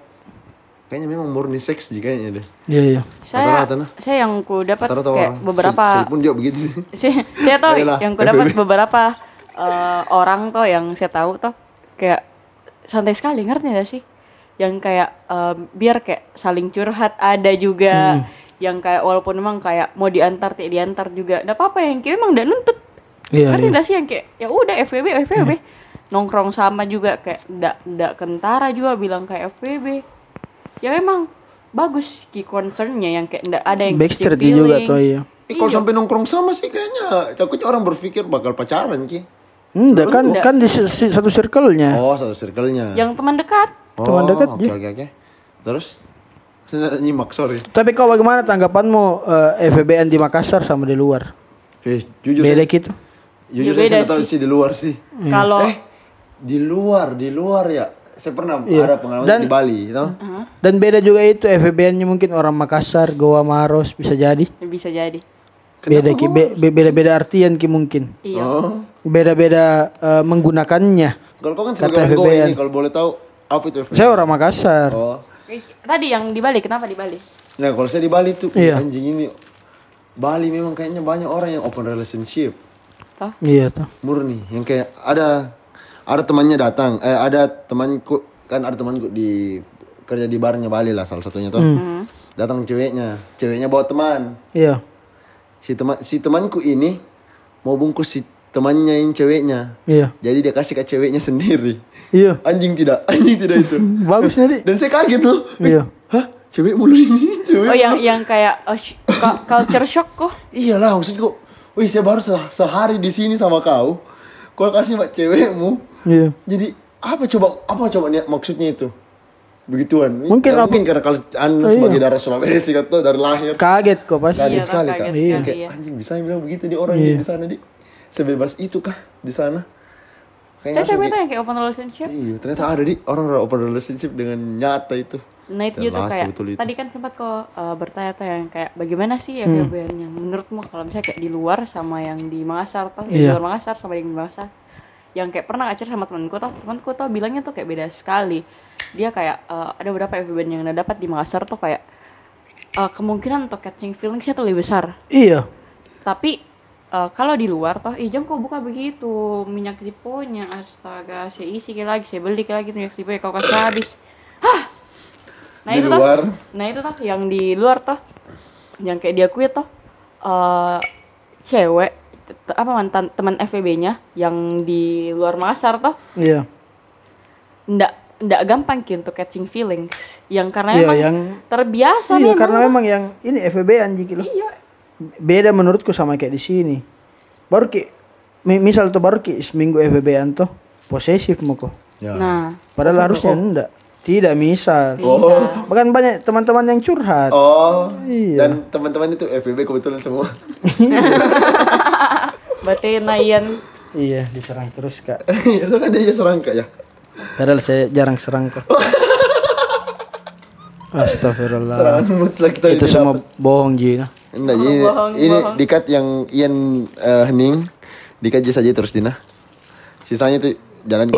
Speaker 1: kayaknya memang murni seks sih kayaknya deh.
Speaker 3: Iya, iya.
Speaker 2: Saya
Speaker 1: Rata-rata, nah.
Speaker 2: saya yang ku dapat
Speaker 1: Rata-rata
Speaker 2: kayak
Speaker 1: orang. Saya-
Speaker 2: beberapa
Speaker 1: saya pun juga begitu sih.
Speaker 2: saya, saya tahu
Speaker 1: Yalah,
Speaker 2: yang ku dapat
Speaker 1: FBB.
Speaker 2: beberapa eh, orang tuh yang saya tahu tuh kayak santai sekali ngerti gak sih yang kayak eh, biar kayak saling curhat ada
Speaker 1: Hmm.
Speaker 2: juga yang kayak walaupun emang kayak mau diantar tidak diantar juga nggak apa-apa yang kayak emang udah nuntut
Speaker 3: Iya.
Speaker 2: ngerti
Speaker 3: iya.
Speaker 2: gak sih yang kayak ya udah FWB FWB nongkrong sama juga kayak ndak ndak kentara juga bilang kayak FWB ya emang bagus key concernnya yang kayak ndak ada yang kecil
Speaker 3: Backstreet juga
Speaker 2: feelings.
Speaker 3: tuh iya.
Speaker 1: Eh, kalau sampai nongkrong sama sih kayaknya takutnya orang berpikir bakal pacaran ki.
Speaker 3: Enggak kan
Speaker 2: Enggak.
Speaker 3: kan di si- si- satu
Speaker 2: Nah.
Speaker 3: circle-nya.
Speaker 1: Oh satu circle-nya.
Speaker 2: yang teman dekat
Speaker 1: Oh,
Speaker 3: Teman dekat,
Speaker 1: Oke
Speaker 3: ya.
Speaker 1: oke oke. Terus saya nyimak sorry.
Speaker 3: Tapi kau bagaimana tanggapanmu eh, FBN di Makassar sama di luar?
Speaker 1: Eh, jujur
Speaker 3: Beda
Speaker 1: saya,
Speaker 3: gitu.
Speaker 1: jujur
Speaker 2: Ya,
Speaker 1: saya,
Speaker 2: beda
Speaker 1: nggak tahu
Speaker 2: sih.
Speaker 1: sih di luar sih.
Speaker 3: Iya.
Speaker 2: kalau
Speaker 1: Eh di luar di luar ya. Saya pernah ada pengalaman
Speaker 3: Iya. Dan-
Speaker 1: di Bali, you know?
Speaker 2: Uh-huh,
Speaker 3: Dan beda juga itu FBN-nya mungkin orang Makassar, Goa, Maros bisa jadi.
Speaker 2: bisa jadi
Speaker 3: Beda ki be- be- beda-beda artian ki mungkin.
Speaker 2: iya
Speaker 1: Oh.
Speaker 3: Beda-beda eh, menggunakannya.
Speaker 1: Kalau kau kan
Speaker 3: Kata
Speaker 1: sebagai orang Goa
Speaker 3: FBN.
Speaker 1: ini kalau boleh tahu apa itu FBN?
Speaker 3: Saya orang Makassar.
Speaker 1: Oh.
Speaker 2: Eh, tadi yang di Bali kenapa di Bali
Speaker 1: Nah, kalau saya di Bali tuh
Speaker 3: Iya.
Speaker 1: anjing ini Bali memang kayaknya banyak orang yang open relationship.
Speaker 3: Iya tuh.
Speaker 1: murni yang kayak ada ada temannya datang eh ada temanku kan ada temanku di kerja di barnya Bali lah salah satunya tuh datang ceweknya ceweknya bawa teman
Speaker 3: Iya.
Speaker 1: si teman si temanku ini mau bungkus si temannya yang ceweknya
Speaker 3: Iya.
Speaker 1: jadi dia kasih ke ceweknya sendiri
Speaker 3: Iya.
Speaker 1: anjing tidak anjing tidak itu
Speaker 3: Bagus nih. Di.
Speaker 1: dan saya kaget loh Eh,
Speaker 3: Iya.
Speaker 1: hah cewek mulu ini cewek
Speaker 2: oh yang yang kayak oh, sh- cu- culture shock kok
Speaker 1: Iyalah maksudku, wih saya baru se- sehari di sini sama kau, kau kasih mak cewekmu.
Speaker 3: Iya.
Speaker 1: Jadi apa coba apa coba niat maksudnya itu? Begituan.
Speaker 3: Mungkin
Speaker 1: Ya,
Speaker 3: aku-
Speaker 1: mungkin karena kalau anda
Speaker 3: Oh, iya. kan,
Speaker 1: sebagai darah Sulawesi kata dari lahir.
Speaker 3: Kaget kok pasti.
Speaker 1: Kaget
Speaker 2: Iya, Kak,
Speaker 1: sekali
Speaker 2: kaget
Speaker 1: kak.
Speaker 2: sekali,
Speaker 1: Kayak,
Speaker 2: iya.
Speaker 1: anjing bisa bilang begitu di orang
Speaker 3: Iya.
Speaker 1: di sana di sebebas itu kah di sana? Kayaknya
Speaker 2: saya
Speaker 1: langsung
Speaker 2: cewek
Speaker 1: di-
Speaker 2: tuh yang kayak open relationship
Speaker 1: Iya ternyata ada di orang orang open relationship dengan nyata itu.
Speaker 2: Night
Speaker 1: Jelas,
Speaker 2: gitu kayak
Speaker 1: betul itu.
Speaker 2: tadi kan sempat kok uh, bertanya tuh yang kayak bagaimana sih
Speaker 1: Hmm.
Speaker 2: ya kebiasaan yang menurutmu kalau misalnya kayak di luar sama yang di Makassar tuh yang di
Speaker 3: Iya.
Speaker 2: luar Makassar sama yang di Makassar yang kayak pernah ngajar sama temanku tuh temanku tuh bilangnya tuh kayak beda sekali dia kayak uh, ada beberapa kebiasaan yang udah dapat di Makassar tuh kayak uh, kemungkinan untuk catching feelingsnya tuh lebih besar
Speaker 3: Iya.
Speaker 2: tapi eh, kalau di luar toh ijam kok buka begitu minyak ziponya astaga saya isi kayak lagi saya beli kayak lagi minyak ziponya kau kasih habis hah nah
Speaker 1: Di
Speaker 2: itu
Speaker 1: luar.
Speaker 2: toh nah itu toh yang di luar toh yang kayak diakui toh eh cewek t- apa mantan teman FEB-nya yang di luar Makassar toh
Speaker 3: Iya.
Speaker 2: ndak ndak gampang gitu untuk catching feelings yang karena
Speaker 3: Iya,
Speaker 2: emang
Speaker 3: yang-
Speaker 2: terbiasa
Speaker 3: Iya,
Speaker 2: memang.
Speaker 3: karena memang yang ini FBB anjing gitu.
Speaker 2: iya
Speaker 3: beda menurutku sama kayak di sini. Baru ki, mi- misal tuh baru ki seminggu FBB tuh posesif muko.
Speaker 1: Ya.
Speaker 2: nah
Speaker 3: Padahal harusnya enggak. Tidak misal.
Speaker 2: iya.
Speaker 3: Bahkan banyak teman-teman yang curhat.
Speaker 1: Oh,
Speaker 3: Iya.
Speaker 1: dan teman-teman itu FBB kebetulan semua.
Speaker 2: batin Nayan
Speaker 3: Iya, diserang terus kak.
Speaker 1: Itu kan dia serang kak ya.
Speaker 3: Padahal saya jarang serang kok. Astagfirullah.
Speaker 1: Serangan mutlak kita
Speaker 3: Ah. Itu
Speaker 1: ini
Speaker 3: semua
Speaker 1: dapat.
Speaker 3: bohong Ji. nah.
Speaker 1: Nah, jadi
Speaker 2: Bohong,
Speaker 1: ini
Speaker 2: bohong.
Speaker 1: dikat yang Ian eh, Hening dikaji saja terus Dina. Sisanya tuh jalan ke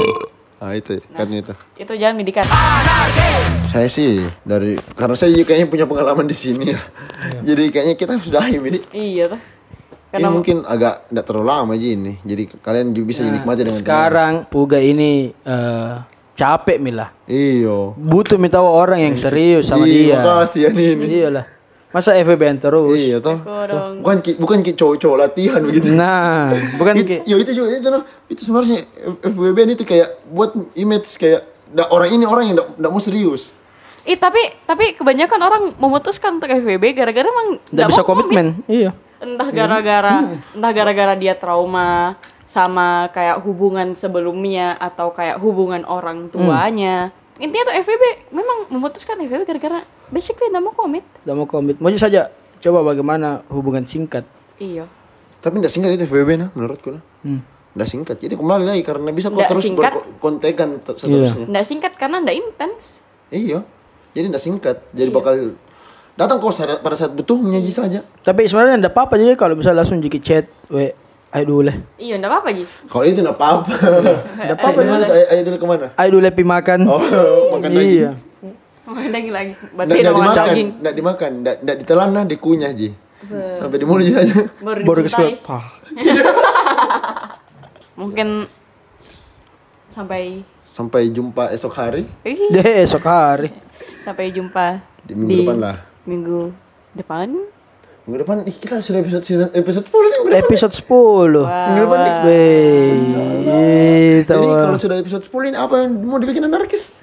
Speaker 1: Ah
Speaker 3: Nah.
Speaker 1: itu katnya itu.
Speaker 2: Itu jangan didikan.
Speaker 1: Saya sih dari karena saya juga kayaknya punya pengalaman di sini ya.
Speaker 3: Iya.
Speaker 1: Jadi kayaknya kita sudah ini.
Speaker 2: Iya tuh.
Speaker 1: Ini
Speaker 2: Karena
Speaker 1: mungkin agak tidak terlalu lama aja ini. Jadi kalian juga bisa dinikmati dengan tenang.
Speaker 3: Nah, Sekarang Puga ini eh, capek Mila.
Speaker 1: Iyo.
Speaker 3: Butuh minta orang yang serius sama
Speaker 1: Iya,
Speaker 3: dia. Iya.
Speaker 1: makasih ya ini.
Speaker 3: Iyalah. Masa FBN terus?
Speaker 1: Iya toh.
Speaker 2: Kurang.
Speaker 1: Bukan ki- bukan ki cowok-cowok latihan begitu.
Speaker 3: Nah, bukan
Speaker 1: It-
Speaker 3: ki-
Speaker 1: ya itu juga itu nah, itu sebenarnya F- FWB itu kayak buat image kayak "Dah, orang ini orang yang tidak mau serius.
Speaker 2: Ih, tapi tapi kebanyakan orang memutuskan untuk FBB gara-gara emang
Speaker 3: nggak
Speaker 2: nggak
Speaker 3: bisa
Speaker 2: mau
Speaker 3: komitmen. Iya.
Speaker 2: entah gara-gara entah gara-gara dia trauma sama kayak hubungan sebelumnya atau kayak hubungan
Speaker 3: Hmm.
Speaker 2: orang tuanya intinya tuh FVB memang memutuskan FVB gara-gara basically nggak mau komit
Speaker 3: Nggak mau komit. Maju saja coba bagaimana hubungan singkat.
Speaker 2: iya
Speaker 1: Tapi tidak singkat itu FWB nah menurutku nah.
Speaker 3: Hmm.
Speaker 1: Nggak singkat. Jadi kembali lagi karena bisa kok
Speaker 2: Nggak
Speaker 1: terus
Speaker 2: singkat.
Speaker 1: berkontekan
Speaker 3: Iya.
Speaker 1: seterusnya.
Speaker 2: nggak singkat karena nggak intens
Speaker 1: Iya. Jadi tidak singkat.
Speaker 2: Iya.
Speaker 1: Jadi bakal datang kok saat- pada saat butuhnya aja saja.
Speaker 3: Tapi sebenarnya enggak apa-apa aja kalau bisa langsung jiki chat, we aduh leh.
Speaker 2: iya nggak apa-apa ji
Speaker 1: Kalau itu tidak apa-apa. Tidak apa-apa gimana tuh? Ayo dulu kemana?
Speaker 3: Aduh leh pi makan.
Speaker 1: Oh, makan lagi.
Speaker 3: iya.
Speaker 2: lagi lagi berarti
Speaker 1: Nggak nggak
Speaker 2: udah makan
Speaker 1: dimakan,
Speaker 2: daging
Speaker 1: nggak dimakan, nggak nggak ditelan nah dikunyah ji. Sampai di mulut ji saja.
Speaker 2: baru,
Speaker 3: Baru ke sekolah.
Speaker 2: dibuntai.
Speaker 3: Pah.
Speaker 2: mungkin sampai
Speaker 1: Sampai jumpa esok hari
Speaker 2: ih,
Speaker 3: Deh esok hari.
Speaker 2: sampai jumpa
Speaker 1: di minggu depan lah.
Speaker 2: minggu depan
Speaker 1: Minggu depan ih, kita sudah episode season episode 10 nih minggu depan.
Speaker 3: Episode 10.
Speaker 1: Minggu depan nih.
Speaker 3: Wey, itu.
Speaker 1: Jadi kalau sudah episode 10 ini apa yang mau dibikin anarkis?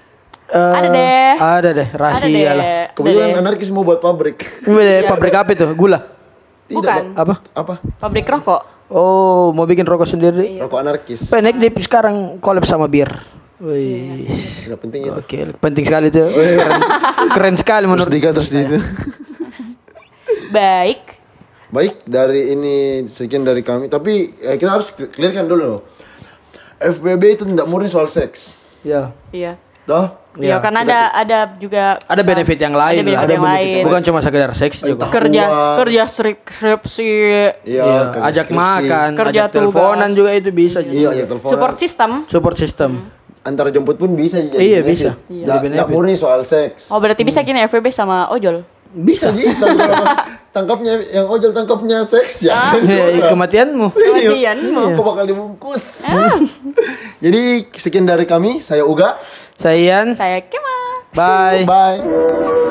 Speaker 3: Eh,
Speaker 2: Ada deh.
Speaker 3: Ada deh,
Speaker 2: ada
Speaker 3: rahasia
Speaker 2: deh Iya.
Speaker 3: lah.
Speaker 2: ada
Speaker 1: Kebetulan
Speaker 2: deh.
Speaker 1: anarkis mau buat pabrik.
Speaker 3: Weh, pabrik apa itu? Gula.
Speaker 2: bukan
Speaker 1: Pak.
Speaker 3: Apa?
Speaker 1: Apa?
Speaker 2: pabrik rokok
Speaker 3: Oh, mau bikin rokok
Speaker 2: Iya.
Speaker 3: sendiri.
Speaker 1: Rokok anarkis.
Speaker 3: Penek dia sekarang collab sama bir.
Speaker 2: Iya,
Speaker 3: Wih.
Speaker 1: Udah penting itu.
Speaker 3: Oke, penting sekali tuh. Keren, keren sekali
Speaker 1: Terus
Speaker 3: menurut Iya.
Speaker 1: tiga terus tiga.
Speaker 2: baik
Speaker 1: Baik, dari ini sekian dari kami. Tapi eh, kita harus clearkan dulu. FBB itu tidak murni soal seks.
Speaker 3: Ya.
Speaker 2: iya
Speaker 1: Toh?
Speaker 2: Iya, karena ada ada juga
Speaker 3: Ada benefit yang lain.
Speaker 2: ada
Speaker 3: lah.
Speaker 2: benefit yang lain.
Speaker 3: Bukan cuma sekedar seks juga.
Speaker 2: kerja
Speaker 1: Uang.
Speaker 2: kerja skripsi,
Speaker 1: Iya,
Speaker 3: Iya,
Speaker 1: kerja
Speaker 3: ajak
Speaker 1: skripsi.
Speaker 3: makan,
Speaker 2: Kerja
Speaker 3: ajak teleponan
Speaker 2: tugas.
Speaker 3: juga itu bisa
Speaker 1: Iya,
Speaker 3: juga.
Speaker 1: ajak telepon.
Speaker 2: support system.
Speaker 3: Support system.
Speaker 2: Hmm.
Speaker 1: Antar jemput pun bisa jadi.
Speaker 3: Iya, bisa.
Speaker 1: benefit.
Speaker 3: Iya.
Speaker 1: Nggak-
Speaker 3: Jadi
Speaker 1: nggak
Speaker 3: benefit.
Speaker 1: murni soal seks.
Speaker 2: Oh, berarti bisa kini FVB sama ojol.
Speaker 1: Bisa Ji. Tangkap- tangkapnya yang ojol tangkapnya seks ya.
Speaker 3: Eh,
Speaker 1: Dosa.
Speaker 3: kematianmu.
Speaker 2: Iya. Kematianmu.
Speaker 1: Aku bakal dibungkus. Jadi sekian dari kami. Saya Uga.
Speaker 3: Sayan,
Speaker 2: Saya Kema.
Speaker 3: bye.
Speaker 1: Bye.